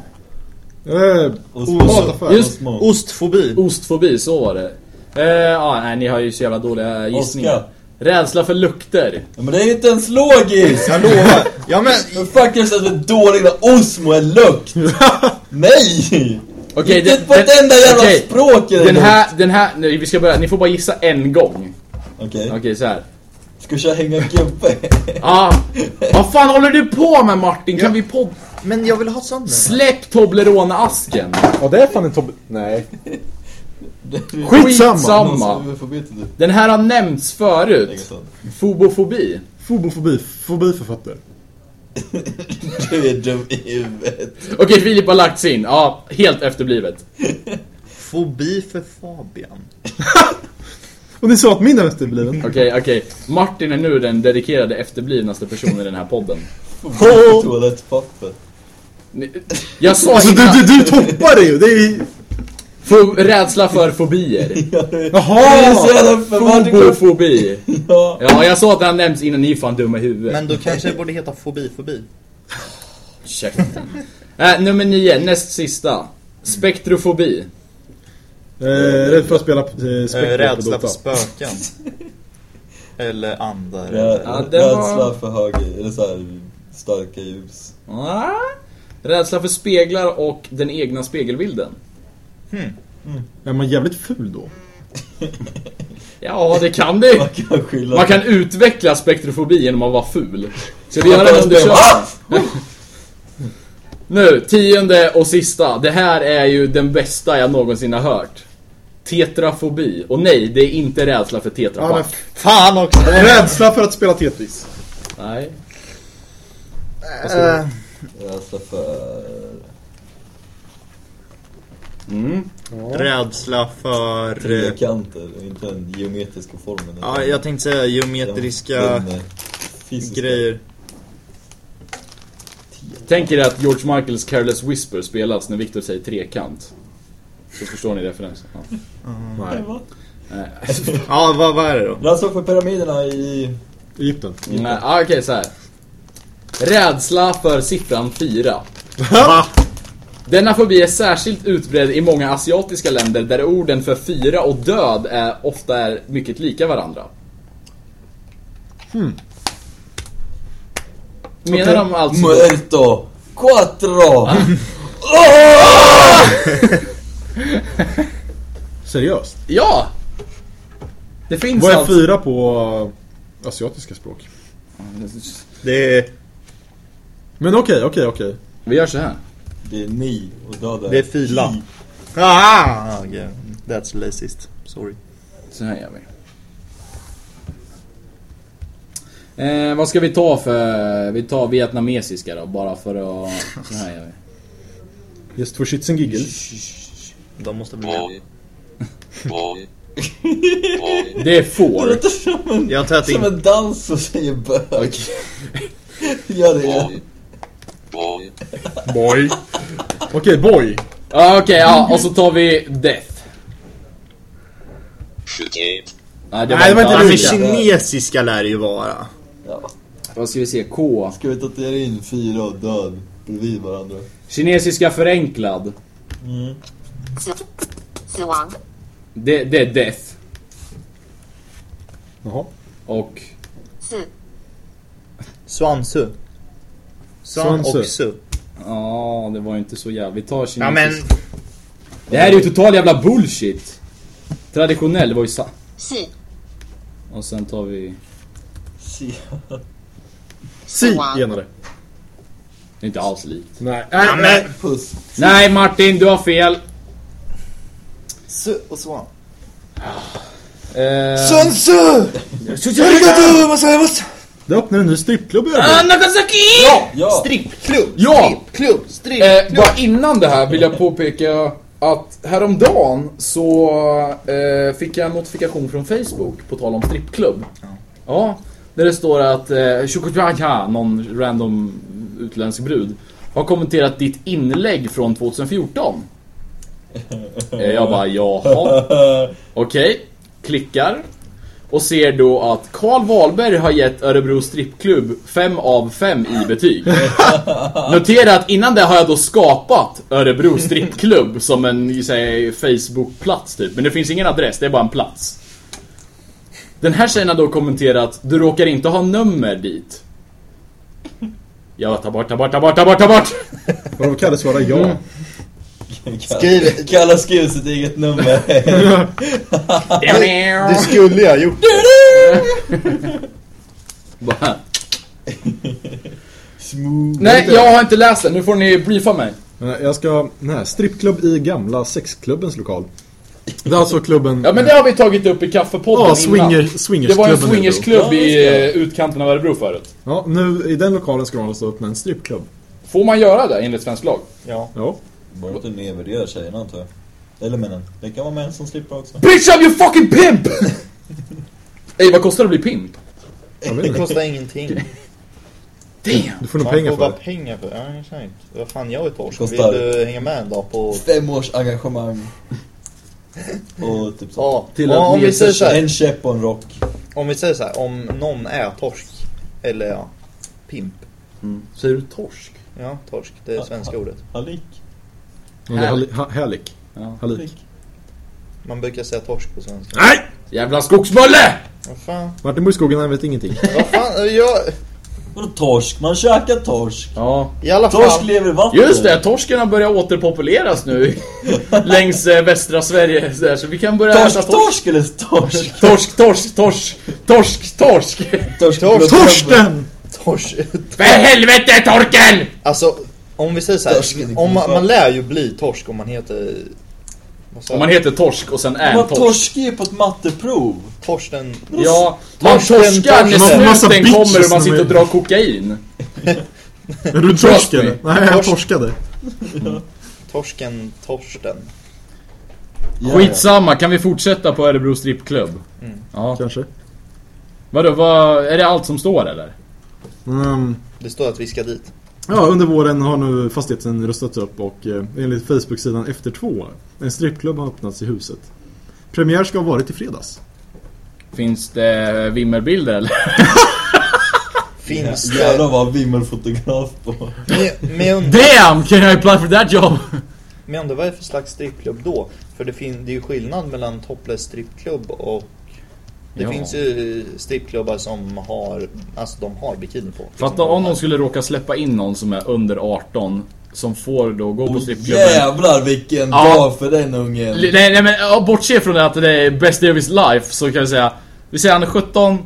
[SPEAKER 2] Eh, Ostmataffär.
[SPEAKER 1] Just-
[SPEAKER 4] Osmo.
[SPEAKER 3] Ostfobi.
[SPEAKER 1] Ostfobi, så var det. Eh, ja, nej ni har ju så jävla dåliga eh, gissningar.
[SPEAKER 4] Oskar.
[SPEAKER 1] Rädsla för lukter.
[SPEAKER 4] Ja, Men det är ju inte ens logiskt!
[SPEAKER 3] Jag lovar. Ja men,
[SPEAKER 4] Hur fan kan det sägas vara dålig när osmo är lukt? Nej!
[SPEAKER 1] Okej,
[SPEAKER 4] Inte
[SPEAKER 1] den-
[SPEAKER 4] på ett
[SPEAKER 1] den-
[SPEAKER 4] enda jävla
[SPEAKER 1] okej.
[SPEAKER 4] språk är det
[SPEAKER 1] Den
[SPEAKER 4] lukt.
[SPEAKER 1] här, den här, nej, vi ska börja, ni får bara gissa en gång.
[SPEAKER 4] Okej,
[SPEAKER 1] Okej så här.
[SPEAKER 4] ska vi köra hänga gubbe?
[SPEAKER 1] Ah, vad fan håller du på med Martin? Kan vi podda?
[SPEAKER 3] men jag vill ha sån.
[SPEAKER 1] Släpp Toblerone-asken!
[SPEAKER 2] Ja det är fan en Tobbe... Nej.
[SPEAKER 1] Skitsamma.
[SPEAKER 2] Skitsamma.
[SPEAKER 4] Någon som är du?
[SPEAKER 1] Den här har nämnts
[SPEAKER 4] Lägg
[SPEAKER 1] förut.
[SPEAKER 4] åt den.
[SPEAKER 1] Fobofobi.
[SPEAKER 2] Fobofobi. Fobi för fötter.
[SPEAKER 4] Du är dum i huvudet.
[SPEAKER 1] Okej, Filip har lagt sin. Ja, helt efterblivet.
[SPEAKER 3] Fobi för Fabian.
[SPEAKER 2] Och ni sa att min är efterbliven.
[SPEAKER 1] Okej, okej. Martin är nu den dedikerade efterblivnaste personen i den här podden.
[SPEAKER 4] Toalettpapper.
[SPEAKER 1] Ni- Jag sa
[SPEAKER 2] Alltså du,
[SPEAKER 1] innan,
[SPEAKER 2] du, du toppar det ju! Det är ju...
[SPEAKER 1] fo- rädsla för fobier.
[SPEAKER 4] Det är
[SPEAKER 2] Jaha!
[SPEAKER 4] så jävla uppenbart.
[SPEAKER 1] Fobofobi.
[SPEAKER 4] Ja.
[SPEAKER 1] Ja, jag sa att den har nämnts innan, ni är fan dumma i huvudet.
[SPEAKER 3] Men då kanske det borde heta fobifobi.
[SPEAKER 1] Käften. Äh, nummer nio, näst sista. Spektrofobi.
[SPEAKER 2] Eh, rädd för att spela eh,
[SPEAKER 3] Eh,
[SPEAKER 2] Spectre på
[SPEAKER 3] Rädsla för
[SPEAKER 2] Dota.
[SPEAKER 3] spöken. Eller andar.
[SPEAKER 4] Rä-
[SPEAKER 1] Ja, det var-
[SPEAKER 4] Rädsla för höga, eller så här, starka ljus.
[SPEAKER 1] Ah. Rädsla för speglar och den egna spegelbilden.
[SPEAKER 2] Är man jävligt ful då?
[SPEAKER 1] Ja, det kan det
[SPEAKER 4] Man kan skylla
[SPEAKER 1] Man kan utveckla spektrofobi genom att vara ful. Ska vi göra
[SPEAKER 4] Man
[SPEAKER 1] en
[SPEAKER 4] kan spela-
[SPEAKER 1] undersökning?
[SPEAKER 4] Ah!
[SPEAKER 1] Nu, tionde och sista. Det här är ju den bästa jag någonsin har hört. Tetrafobi. Och nej, det är inte rädsla för
[SPEAKER 2] Ja, men
[SPEAKER 1] tetrapack.
[SPEAKER 2] f-
[SPEAKER 3] Fan också!
[SPEAKER 2] Rädsla för att spela Tetris.
[SPEAKER 1] Nej.
[SPEAKER 3] Eh,
[SPEAKER 4] Rädsla för...
[SPEAKER 1] Mm.
[SPEAKER 3] Rädsla för... eh,
[SPEAKER 4] Trekanter, inte den geometriska formen.
[SPEAKER 3] Ja, jag tänkte säga
[SPEAKER 4] Den-
[SPEAKER 3] geometriska
[SPEAKER 4] den, eh, fysiska.
[SPEAKER 3] grejer.
[SPEAKER 1] Tänk er att George Michaels Careless Whisper spelas när Victor säger trekant. Så förstår ni referensen. Ja.
[SPEAKER 2] Nej.
[SPEAKER 1] Nej.
[SPEAKER 3] Ja, vad, vad är det då?
[SPEAKER 4] Rädsla alltså, för pyramiderna i...
[SPEAKER 2] Egypten.
[SPEAKER 1] Nej, ah, Okej, så här. Rädsla för siffran 4.
[SPEAKER 3] Va?
[SPEAKER 1] Denna fobi är särskilt utbredd i många asiatiska länder där orden för fyra och död är, ofta är mycket lika varandra.
[SPEAKER 2] Hmm.
[SPEAKER 1] Menar de alltså...
[SPEAKER 4] Muerto! Quattro!
[SPEAKER 3] Ah.
[SPEAKER 2] Seriöst?
[SPEAKER 1] Ja! Det finns
[SPEAKER 2] Vad är
[SPEAKER 1] alltså...
[SPEAKER 2] fyra på eh, asiatiska språk?
[SPEAKER 3] Det är,
[SPEAKER 2] Men okej, okej, okej.
[SPEAKER 1] Vi gör så här.
[SPEAKER 4] Det är ni och döda.
[SPEAKER 3] det är fila. Ah, okay. That's racist. Sorry.
[SPEAKER 1] Så här gör vi. Eh, vad ska vi ta för... Vi tar vietnamesiska då, bara för att... Så här gör vi.
[SPEAKER 2] Just for shits and giggles.
[SPEAKER 3] De måste
[SPEAKER 7] Boy.
[SPEAKER 3] bli...
[SPEAKER 7] Boy. Boy.
[SPEAKER 1] Det är får.
[SPEAKER 4] låter som en,
[SPEAKER 3] Jag har tagit
[SPEAKER 4] som
[SPEAKER 3] in...
[SPEAKER 4] en dans som säger bög. Gör det igen.
[SPEAKER 7] Boy. Boy.
[SPEAKER 2] Boy. Okej, boy.
[SPEAKER 1] Ja, okej, ja. Och så tar vi death.
[SPEAKER 7] Shoot it.
[SPEAKER 1] Nej,
[SPEAKER 3] Nej, det var inte
[SPEAKER 1] alls
[SPEAKER 3] det. Men
[SPEAKER 1] det.
[SPEAKER 3] kinesiska lär det ju vara.
[SPEAKER 4] Ja.
[SPEAKER 1] Vad ska vi se? K.
[SPEAKER 4] Ska vi tatuera in fyra och död bredvid varandra?
[SPEAKER 1] Kinesiska förenklad.
[SPEAKER 8] Zhuang.
[SPEAKER 1] Det, det är death.
[SPEAKER 2] Jaha.
[SPEAKER 1] Och...
[SPEAKER 8] Zi.
[SPEAKER 3] Svansu. Svan
[SPEAKER 2] Svansu.
[SPEAKER 3] och su.
[SPEAKER 1] Ja, det var ju inte så jävla... Vi tar kinesiska.
[SPEAKER 3] Ja men...
[SPEAKER 1] Det här är ju total jävla bullshit! Traditionell, det var ju sa...
[SPEAKER 8] Xi.
[SPEAKER 1] Och sen tar vi...
[SPEAKER 4] Se.
[SPEAKER 2] Si,
[SPEAKER 8] Wow.
[SPEAKER 2] enade.
[SPEAKER 1] Det är inte alls likt.
[SPEAKER 2] Nej.
[SPEAKER 3] Ja, men...
[SPEAKER 4] Puss.
[SPEAKER 1] Nej Martin, du har fel!
[SPEAKER 3] Su och svan.
[SPEAKER 1] Eh...
[SPEAKER 3] Svansu! Arigato gozaimasu!
[SPEAKER 2] Det öppnar en ny strippklubb i
[SPEAKER 1] Ah,
[SPEAKER 2] Örebro.
[SPEAKER 1] Nagasaki!
[SPEAKER 4] Ja!
[SPEAKER 3] Strippklubb!
[SPEAKER 1] Ja!
[SPEAKER 3] Strippklubb! Stripp!
[SPEAKER 1] Eh, bara innan det här vill jag påpeka att häromdagen så eh, fick jag en notifikation från Facebook på tal om strippklubb. Ja. där det står att eh, Shukutaka, någon random utländsk brud, har kommenterat ditt inlägg från 2014. Eh, jag bara jaha. Okej, klickar. Och ser då att Karl Wahlberg har gett Örebro strippklubb 5 av 5 i betyg. Notera att innan det har jag då skapat Örebro strippklubb som en säg, Facebook-plats typ. Men det finns ingen adress, det är bara en plats. Den här tjejen har då kommenterat Du råkar inte ha nummer dit. Jag tar bort, tar bort, tar bort, tar bort, tar bort!
[SPEAKER 2] Vadå, Kalle svarar ja.
[SPEAKER 4] Skriv. Kalla skriv sitt eget nummer.
[SPEAKER 3] Du skulle ju ha gjort det.
[SPEAKER 1] Bara,
[SPEAKER 4] Smooth.
[SPEAKER 1] Nej, jag har inte läst den. Nu får ni briefa mig.
[SPEAKER 2] Eh, Jag ska... Nej, strippklubb i gamla sexklubbens lokal. Det är alltså klubben...
[SPEAKER 1] Ja men det har vi tagit upp i kaffepodden
[SPEAKER 2] Ja,
[SPEAKER 1] innan.
[SPEAKER 2] swinger, swingersklubben.
[SPEAKER 1] Det var en
[SPEAKER 2] i Örebro.
[SPEAKER 1] swingersklubb
[SPEAKER 4] Ja, just
[SPEAKER 1] i
[SPEAKER 4] det.
[SPEAKER 1] eh, utkanten av Örebro förut.
[SPEAKER 2] Ja, nu i den lokalen ska de alltså öppna en strippklubb.
[SPEAKER 1] Får man göra det enligt svensk lag?
[SPEAKER 2] Ja.
[SPEAKER 4] Borde inte nedvärdera tjejerna antar jag. Eller männen. Det kan vara män som slipper också.
[SPEAKER 1] Bitch I'm your fucking pimp! Ey vad kostar det att bli pimp?
[SPEAKER 2] Jag vet
[SPEAKER 3] Det
[SPEAKER 2] inte.
[SPEAKER 3] kostar ingenting.
[SPEAKER 1] Damn!
[SPEAKER 2] Du får nog
[SPEAKER 3] Man
[SPEAKER 2] pengar
[SPEAKER 3] får
[SPEAKER 2] för
[SPEAKER 3] bara
[SPEAKER 2] det.
[SPEAKER 3] pengar för det. Ja, exakt. Vad fan, jag är torsk. Vill
[SPEAKER 4] Kostar.
[SPEAKER 3] du hänga med en dag på...
[SPEAKER 4] Fem års engagemang. Och typ så.
[SPEAKER 3] Ja,
[SPEAKER 2] Till
[SPEAKER 3] ja,
[SPEAKER 2] att
[SPEAKER 3] om vi
[SPEAKER 2] nesa
[SPEAKER 3] säger så här,
[SPEAKER 4] En käpp och en rock.
[SPEAKER 3] om vi säger så här, om någon är torsk, eller ja, pimp.
[SPEAKER 1] Säger du torsk?
[SPEAKER 3] Ja, torsk, det är svenska ordet.
[SPEAKER 4] Halik.
[SPEAKER 2] Men det är Halli- ha- Härlik.
[SPEAKER 1] Ja.
[SPEAKER 2] Härlik.
[SPEAKER 3] Man brukar säga torsk på svenska.
[SPEAKER 2] Nej!
[SPEAKER 1] Jävla skogsmulle!
[SPEAKER 3] Vad fan,
[SPEAKER 2] Martin Borgskogen, han vet ingenting.
[SPEAKER 3] vad fan, jag...
[SPEAKER 4] Vadå torsk? Man käkar torsk.
[SPEAKER 1] Ja.
[SPEAKER 3] I alla
[SPEAKER 4] Torsk
[SPEAKER 3] fall.
[SPEAKER 4] lever i vatten.
[SPEAKER 1] Just det, torskarna börjar återpopuleras nu längs eh, västra Sverige så, där, så vi kan börja äta torsk.
[SPEAKER 4] Torsk, torsk eller torsk?
[SPEAKER 1] Torsk, torsk, torsk, torsk, torsk!
[SPEAKER 4] Torsk,
[SPEAKER 2] Torsten!
[SPEAKER 3] Tors,
[SPEAKER 1] För helvete torken!
[SPEAKER 3] alltså, om vi säger så
[SPEAKER 4] Torsk är
[SPEAKER 3] här,
[SPEAKER 4] det
[SPEAKER 3] om man,
[SPEAKER 4] kul.
[SPEAKER 3] man lär ju bli torsk om man heter... Vad sa
[SPEAKER 1] Om
[SPEAKER 3] man
[SPEAKER 1] man heter torsk och sen är en
[SPEAKER 4] Vad
[SPEAKER 1] torsk.
[SPEAKER 4] torsk är ju på ett matteprov.
[SPEAKER 3] Torsten...
[SPEAKER 1] Ja, man
[SPEAKER 3] Torsken,
[SPEAKER 1] torskar när
[SPEAKER 3] torsken.
[SPEAKER 2] Massa
[SPEAKER 1] snuten
[SPEAKER 2] bitches
[SPEAKER 1] kommer och man
[SPEAKER 2] som
[SPEAKER 1] sitter och
[SPEAKER 2] är-
[SPEAKER 1] drar kokain.
[SPEAKER 2] Är du
[SPEAKER 1] Trust
[SPEAKER 2] torsk
[SPEAKER 1] me.
[SPEAKER 2] eller? Nej, jag
[SPEAKER 3] Torsk.
[SPEAKER 2] torskade.
[SPEAKER 3] Torsken Torsten.
[SPEAKER 4] Ja,
[SPEAKER 1] Skitsamma, kan vi fortsätta på Örebro strippklubb? Ja.
[SPEAKER 2] Kanske.
[SPEAKER 1] Vadå, vad, är det allt som står eller?
[SPEAKER 2] Mm.
[SPEAKER 3] Det står att vi ska dit.
[SPEAKER 2] Ja, under våren har nu fastigheten rustats upp och eh, enligt Facebook-sidan Efter två en strippklubb har öppnats i huset. Premiär ska ha varit i fredags.
[SPEAKER 1] Finns det vimmerbilder eller?
[SPEAKER 3] Finns
[SPEAKER 4] ja. Jävlar
[SPEAKER 3] det...
[SPEAKER 4] vad vimmelfotograf på.
[SPEAKER 3] Men- Men jag und-
[SPEAKER 1] Damn! Can I apply for that job?
[SPEAKER 3] men jag undrar vad det är för slags strippklubb då? För det, fin- det är ju skillnad mellan topless strippklubb och... Det
[SPEAKER 1] Ja.
[SPEAKER 3] finns ju eh, strippklubbar som har, alltså de har bikini på.
[SPEAKER 1] Fatta om de skulle råka släppa in någon som är under 18 som får då gå på
[SPEAKER 4] Oh,
[SPEAKER 1] strippklubben.
[SPEAKER 4] jävlar vilken
[SPEAKER 1] Ja.
[SPEAKER 4] dag för den ungen.
[SPEAKER 1] L- Nej, nej men ja, bortse från det att det är best day of his life så kan vi säga Vi säger han är 17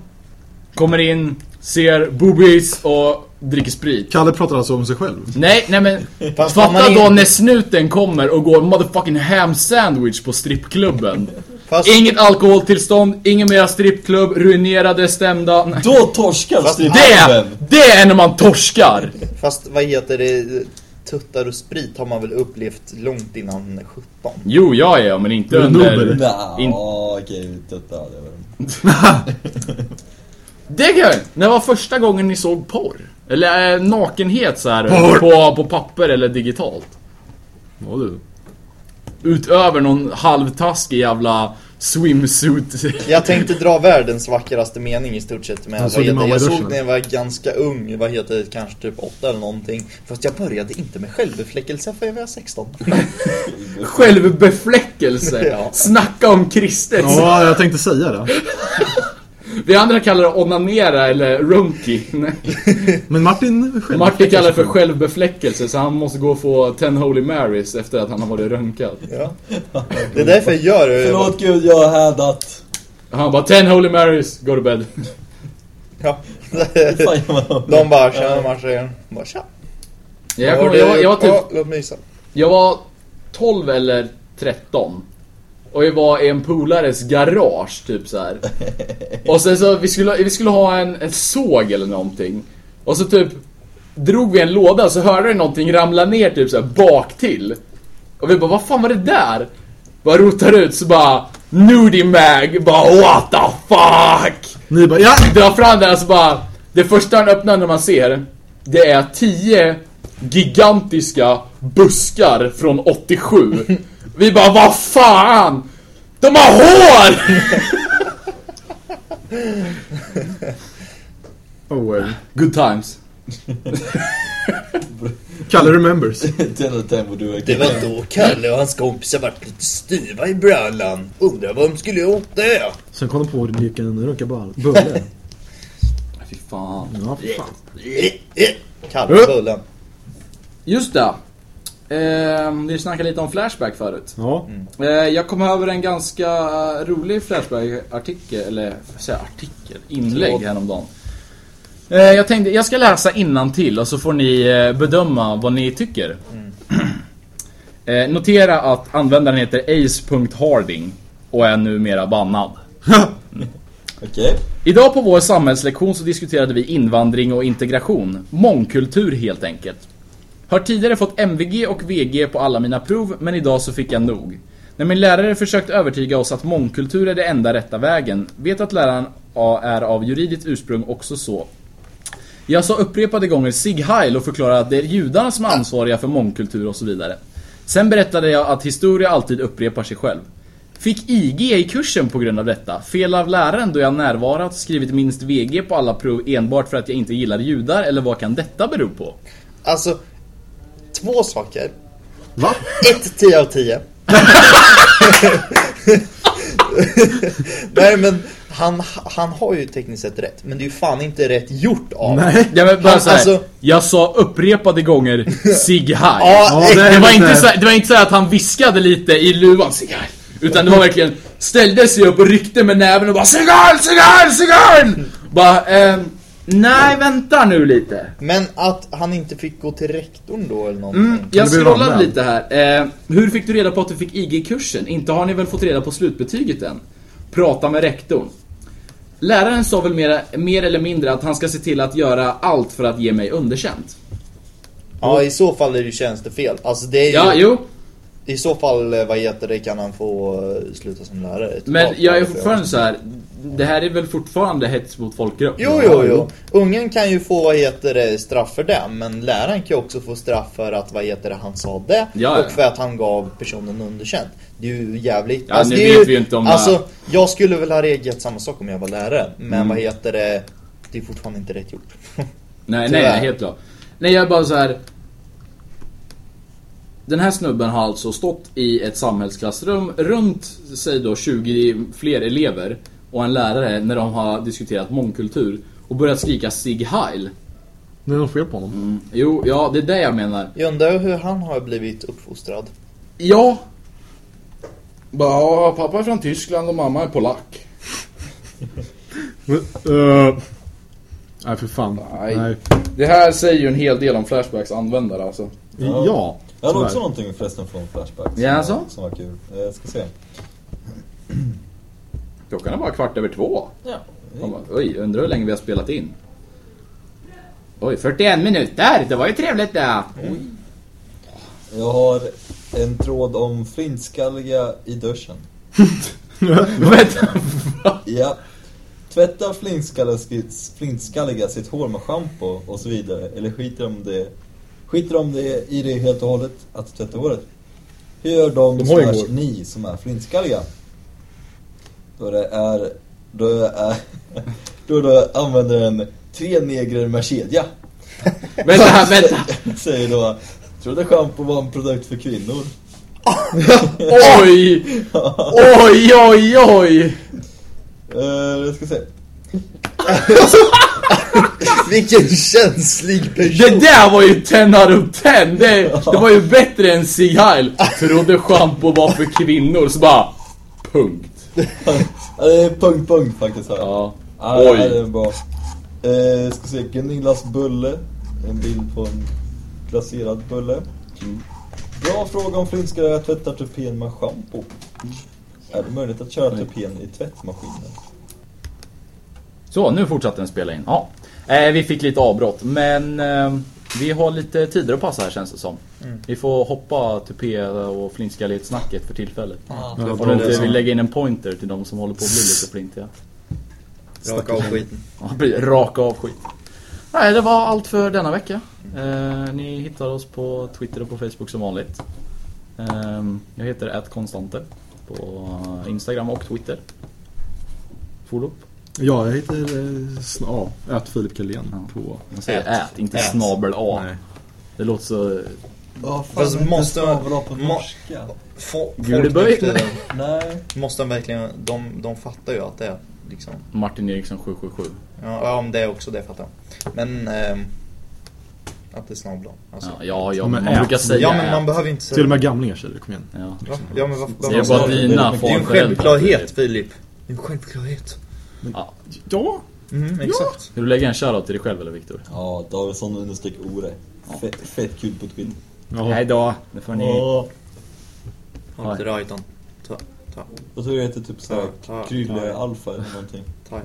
[SPEAKER 1] Kommer in, ser boobies och dricker sprit
[SPEAKER 2] Kalle pratar alltså om sig själv.
[SPEAKER 1] Nej, nej men
[SPEAKER 3] Fast om
[SPEAKER 1] fatta
[SPEAKER 3] man
[SPEAKER 1] då
[SPEAKER 3] in-
[SPEAKER 1] när snuten kommer och går motherfucking ham sandwich på strippklubben
[SPEAKER 3] Fast,
[SPEAKER 1] Inget alkoholtillstånd, ingen mera strippklubb, ruinerade, stämda Nej.
[SPEAKER 4] Då torskar
[SPEAKER 3] Fast
[SPEAKER 1] Det,
[SPEAKER 4] strippklubben.
[SPEAKER 1] det är när man torskar!
[SPEAKER 3] fast vad heter det? Tuttar och sprit har man väl upplevt långt innan 17?
[SPEAKER 1] Jo, jag är men inte
[SPEAKER 2] Är det
[SPEAKER 1] under...
[SPEAKER 2] Nobel?
[SPEAKER 4] Nja,
[SPEAKER 1] In-
[SPEAKER 4] Ah, okej, titta. Det var
[SPEAKER 1] Det kan jag- När var första gången ni såg porr? Eller eh, nakenhet så här
[SPEAKER 2] Porr!
[SPEAKER 1] På, på papper eller digitalt? Ja du. Utöver någon halvtaskig jävla swimsuit.
[SPEAKER 3] Jag tänkte dra världens vackraste mening i stort sett med
[SPEAKER 2] Jag
[SPEAKER 3] vad
[SPEAKER 2] såg
[SPEAKER 3] heter,
[SPEAKER 2] mamma i
[SPEAKER 3] Jag
[SPEAKER 2] duschen.
[SPEAKER 3] såg när jag var ganska ung, vad heter det, kanske typ 8 eller någonting Fast jag började inte med självbefläckelse för jag var 16
[SPEAKER 1] Självbefläckelse.
[SPEAKER 3] Ja.
[SPEAKER 1] Snacka om kristet.
[SPEAKER 2] Ja, jag tänkte säga det.
[SPEAKER 1] Vi andra kallar det onanera eller runky. Nej.
[SPEAKER 2] Men Martin själv.
[SPEAKER 1] Martin kallar det för självbefläckelse så han måste gå och få 10 Holy Marys efter att han har varit röntgad.
[SPEAKER 3] ja. Det är därför jag gör det
[SPEAKER 4] Förlåt gud, jag har hädat.
[SPEAKER 1] Han bara 10 Holy Marys, go to bed.
[SPEAKER 3] ja.
[SPEAKER 4] Fan, jag-
[SPEAKER 3] De bara tjena marschen, bara tja
[SPEAKER 1] Jag,
[SPEAKER 3] Har
[SPEAKER 1] kommer,
[SPEAKER 3] du-
[SPEAKER 1] jag, var- jag var typ
[SPEAKER 3] Ja, Låt mig gissa
[SPEAKER 1] Jag var 12 eller 13 och jag var i en polares garage typ så här. Och sen så vi skulle, vi skulle ha en, en såg eller någonting. Och så typ drog vi en låda så hörde vi någonting ramla ner typ så här bak till. Och vi bara vad fan var det där? Bara rotar ut så bara Nudie mag bara what the fuck?
[SPEAKER 2] Ni bara, ja!
[SPEAKER 1] drar fram den så bara Det första han öppnar när man ser Det är 10 gigantiska buskar från 87 Vi bara vad fan De har hår!
[SPEAKER 2] Oh, well.
[SPEAKER 1] Good times
[SPEAKER 2] Kalle remembers.
[SPEAKER 4] Ten of ten vad du
[SPEAKER 3] Det
[SPEAKER 4] är.
[SPEAKER 3] var då Kalle och hans kompisar vart lite styva i brallan Undrar vad de skulle åt det
[SPEAKER 2] Sen kom de på att det gick en runkabulle.
[SPEAKER 1] Fy fan
[SPEAKER 2] Ja, för fan.
[SPEAKER 3] Kalle bullen
[SPEAKER 1] Just det Ehm, vi snackade lite om Flashback förut.
[SPEAKER 2] Ja.
[SPEAKER 1] Eh, jag kom över en ganska eh, rolig Flashback-artikel, eller vad säger jag, artikel, inlägg häromdagen. Eh, jag tänkte, jag ska läsa till och så får ni eh, bedöma vad ni tycker. Eh, notera att användaren heter ace.harding och är numera bannad.
[SPEAKER 4] Okej.
[SPEAKER 1] Idag på vår samhällslektion så diskuterade vi invandring och integration. Mångkultur helt enkelt. Har tidigare fått MVG och VG på alla mina prov, men idag så fick jag nog. När min lärare försökt övertyga oss att mångkultur är det enda rätta vägen, vet att läraren A är av juridiskt ursprung också så. Jag sa upprepade gånger Sig Heil och förklarade att det är judarna som är ansvariga för mångkultur och så vidare. Sen berättade jag att historia alltid upprepar sig själv. Fick IG i kursen på grund av detta. Fel av läraren då jag närvarat, skrivit minst VG på alla prov enbart för att jag inte gillar judar, eller vad kan detta bero på?
[SPEAKER 3] Alltså, två saker
[SPEAKER 2] Va?
[SPEAKER 3] Ett 10 av 10. Nej men han, han har ju tekniskt sett rätt, men det är ju fan inte rätt gjort av
[SPEAKER 2] Nej.
[SPEAKER 1] Ja, men bara
[SPEAKER 3] Han-
[SPEAKER 1] så här,
[SPEAKER 3] alltså-
[SPEAKER 1] jag sa upprepade gånger Sig Heil.
[SPEAKER 3] Ja, eh,
[SPEAKER 2] Ja, det är
[SPEAKER 1] det, var
[SPEAKER 2] lite-
[SPEAKER 1] inte så, här- det var inte så här att han viskade lite i luvan Sig Heil. Utan det var verkligen ställde sig upp och ryckte med näven och bara Sig Heil, Sig Heil, Sig Heil! Bara, ehm, nej vänta nu lite.
[SPEAKER 3] Men att han inte fick gå till rektorn då eller någonting.
[SPEAKER 1] Mm, jag
[SPEAKER 2] blir
[SPEAKER 1] scrollade
[SPEAKER 2] anmäld.
[SPEAKER 1] lite här. Eh, hur fick du reda på att du fick IG-kursen? Inte har ni väl fått reda på slutbetyget än? Prata med rektorn. Läraren sa väl mer, mer eller mindre att han ska se till att göra allt för att ge mig underkänt.
[SPEAKER 3] Ja, i så fall är det ju tjänstefel. Alltså det är ju,
[SPEAKER 1] Ja, jo.
[SPEAKER 3] I så fall, eh, vad heter det, kan han få eh, sluta som lärare.
[SPEAKER 1] Men
[SPEAKER 3] Totalt
[SPEAKER 1] jag är
[SPEAKER 3] fel.
[SPEAKER 1] fortfarande så här. det här är väl fortfarande hets mot folkgrupp?
[SPEAKER 3] Jo, jo, jo. Ungen kan ju få, vad heter det, straff för det. Men läraren kan ju också få straff för att, vad heter det, han sa det.
[SPEAKER 1] Ja, ja.
[SPEAKER 3] Och för att han gav personen underkänt. Det är ju jävligt.
[SPEAKER 1] Ja, nu
[SPEAKER 3] det är
[SPEAKER 1] vet vi ju inte om det-
[SPEAKER 3] Alltså, jag skulle väl ha reagerat samma sak om jag var lärare. Men
[SPEAKER 1] Mm.
[SPEAKER 3] vad heter det, det är fortfarande inte rätt gjort.
[SPEAKER 1] Nej, nej,
[SPEAKER 3] Tyvärr.
[SPEAKER 1] nej, helt klart. Nej, jag är bara så här. Den här snubben har alltså stått i ett samhällsklassrum runt, säg då 20 fler elever och en lärare när de har diskuterat mångkultur och börjat skrika Sig Heil.
[SPEAKER 2] Det är något fel på honom.
[SPEAKER 1] Jo, ja, det är det jag menar.
[SPEAKER 3] Jag undrar hur han har blivit uppfostrad.
[SPEAKER 1] Ja. Bara, ja, pappa är från Tyskland och mamma är polack.
[SPEAKER 2] Men, eh, nej för fan.
[SPEAKER 1] Nej.
[SPEAKER 2] Nej.
[SPEAKER 1] Det här säger ju en hel del om Flashbacks användare alltså.
[SPEAKER 2] Ja. ja
[SPEAKER 4] Jag hade också
[SPEAKER 2] tyvärr.
[SPEAKER 4] någonting förresten från Flashback som,
[SPEAKER 1] Ja, så?
[SPEAKER 4] som var kul. Jag ska se.
[SPEAKER 1] Klockan är bara kvart över två.
[SPEAKER 4] Ja.
[SPEAKER 1] Han bara, Oj, undrar hur länge vi har spelat in. Oj, 41 minuter! Det var ju trevligt det!
[SPEAKER 4] Jag har en tråd om flintskalliga i duschen.
[SPEAKER 1] Vänta.
[SPEAKER 4] Ja. Tvättar flintskalliga, sitt- flintskalliga sitt hår med schampo och så vidare? Eller skiter de, det, skiter de det i det helt och hållet att tvätta håret? Hur gör de,
[SPEAKER 2] De har ju
[SPEAKER 4] slash
[SPEAKER 2] hår.
[SPEAKER 4] ni som är flintskalliga? Då det är... Då det är... Då, då använder en tre negrer med kedja.
[SPEAKER 1] vänta, här, vänta!
[SPEAKER 4] Säger då... Trodde schampo var en produkt för kvinnor.
[SPEAKER 1] Oj! Oj, oj, oj!
[SPEAKER 4] Uh, jag ska se.
[SPEAKER 3] Vilken känslig
[SPEAKER 1] Det där var ju 10 out of 10! Det, det var ju bättre än Sig Heil. Trodde schampo var för kvinnor, så bara... Punkt.
[SPEAKER 4] Ja, det är punkt, punkt faktiskt här.
[SPEAKER 1] Ja.
[SPEAKER 4] Ja, det-
[SPEAKER 1] Oj.
[SPEAKER 4] ja, det är bra. Eh, ska se, Gunillas bulle. En bild på en glaserad bulle.
[SPEAKER 3] Mm.
[SPEAKER 4] Bra fråga om Flint ska jag tvätta tupén med schampo.
[SPEAKER 3] Mm.
[SPEAKER 4] Är det möjligt att köra tupén i tvättmaskinen?
[SPEAKER 1] Så, nu fortsatte den spela in. Ja. Eh, vi fick lite avbrott, men eh, vi har lite tider att passa här känns det som. Vi får hoppa tupé och flintskallighetssnacket för tillfället.
[SPEAKER 2] Ja,
[SPEAKER 1] Om du
[SPEAKER 2] bra.
[SPEAKER 1] inte vill lägga in en pointer till de som håller på att bli lite flintiga.
[SPEAKER 3] Raka av skiten.
[SPEAKER 1] Ja, det blir Raka av skit. Nej, det var allt för denna vecka. Eh, ni hittar oss på Twitter och på Facebook som vanligt. Ehm, jag heter @konstante på Instagram och Twitter. Folop.
[SPEAKER 2] Ja, jag heter eh, sn- ja, ät Filip Karlén på...
[SPEAKER 1] Man säger ät, inte snabel A. Det låter så...
[SPEAKER 4] Ja, fan,
[SPEAKER 3] Fast måste-
[SPEAKER 4] på
[SPEAKER 3] må-
[SPEAKER 4] norska?
[SPEAKER 3] Få-
[SPEAKER 1] Guleböj.
[SPEAKER 3] folk efter-
[SPEAKER 4] Nej.
[SPEAKER 3] Måste de verkligen, de, de fattar ju att det är liksom.
[SPEAKER 1] Martin Eriksson 777.
[SPEAKER 3] Ja, ja om det är också det fattar jag. Men ehm, att det är snabla. Alltså.
[SPEAKER 1] Ja, ja, ja
[SPEAKER 2] Ja, men
[SPEAKER 1] man
[SPEAKER 2] ät.
[SPEAKER 1] brukar säga
[SPEAKER 3] Ja men man
[SPEAKER 1] ät.
[SPEAKER 3] behöver inte
[SPEAKER 2] Till och
[SPEAKER 3] säga
[SPEAKER 2] med gamlingar säger det, kom igen.
[SPEAKER 1] Ja.
[SPEAKER 3] Va? Ja men varför
[SPEAKER 1] Det är
[SPEAKER 3] behöver
[SPEAKER 1] bara
[SPEAKER 3] man
[SPEAKER 1] att
[SPEAKER 3] säga det?
[SPEAKER 1] dina
[SPEAKER 3] Det är ju en
[SPEAKER 1] farföräldrar.
[SPEAKER 3] självklarhet Filip. Det är en självklarhet.
[SPEAKER 1] Ja.
[SPEAKER 2] Ja!
[SPEAKER 3] Mm, exakt.
[SPEAKER 1] Vill du lägga en shoutout till dig själv eller Viktor?
[SPEAKER 4] Ja, Davidsson understreck Ore. Fett, fett kul på
[SPEAKER 3] Mm.
[SPEAKER 4] Twitter.
[SPEAKER 2] ja.
[SPEAKER 1] då. Nu får
[SPEAKER 4] Ja,
[SPEAKER 3] Håll inte rajtan. Ta,
[SPEAKER 4] jag tror jag heter typ såhär
[SPEAKER 3] Ja, ja,
[SPEAKER 4] Krylle
[SPEAKER 3] ja.
[SPEAKER 4] Alfa eller någonting.
[SPEAKER 3] ta,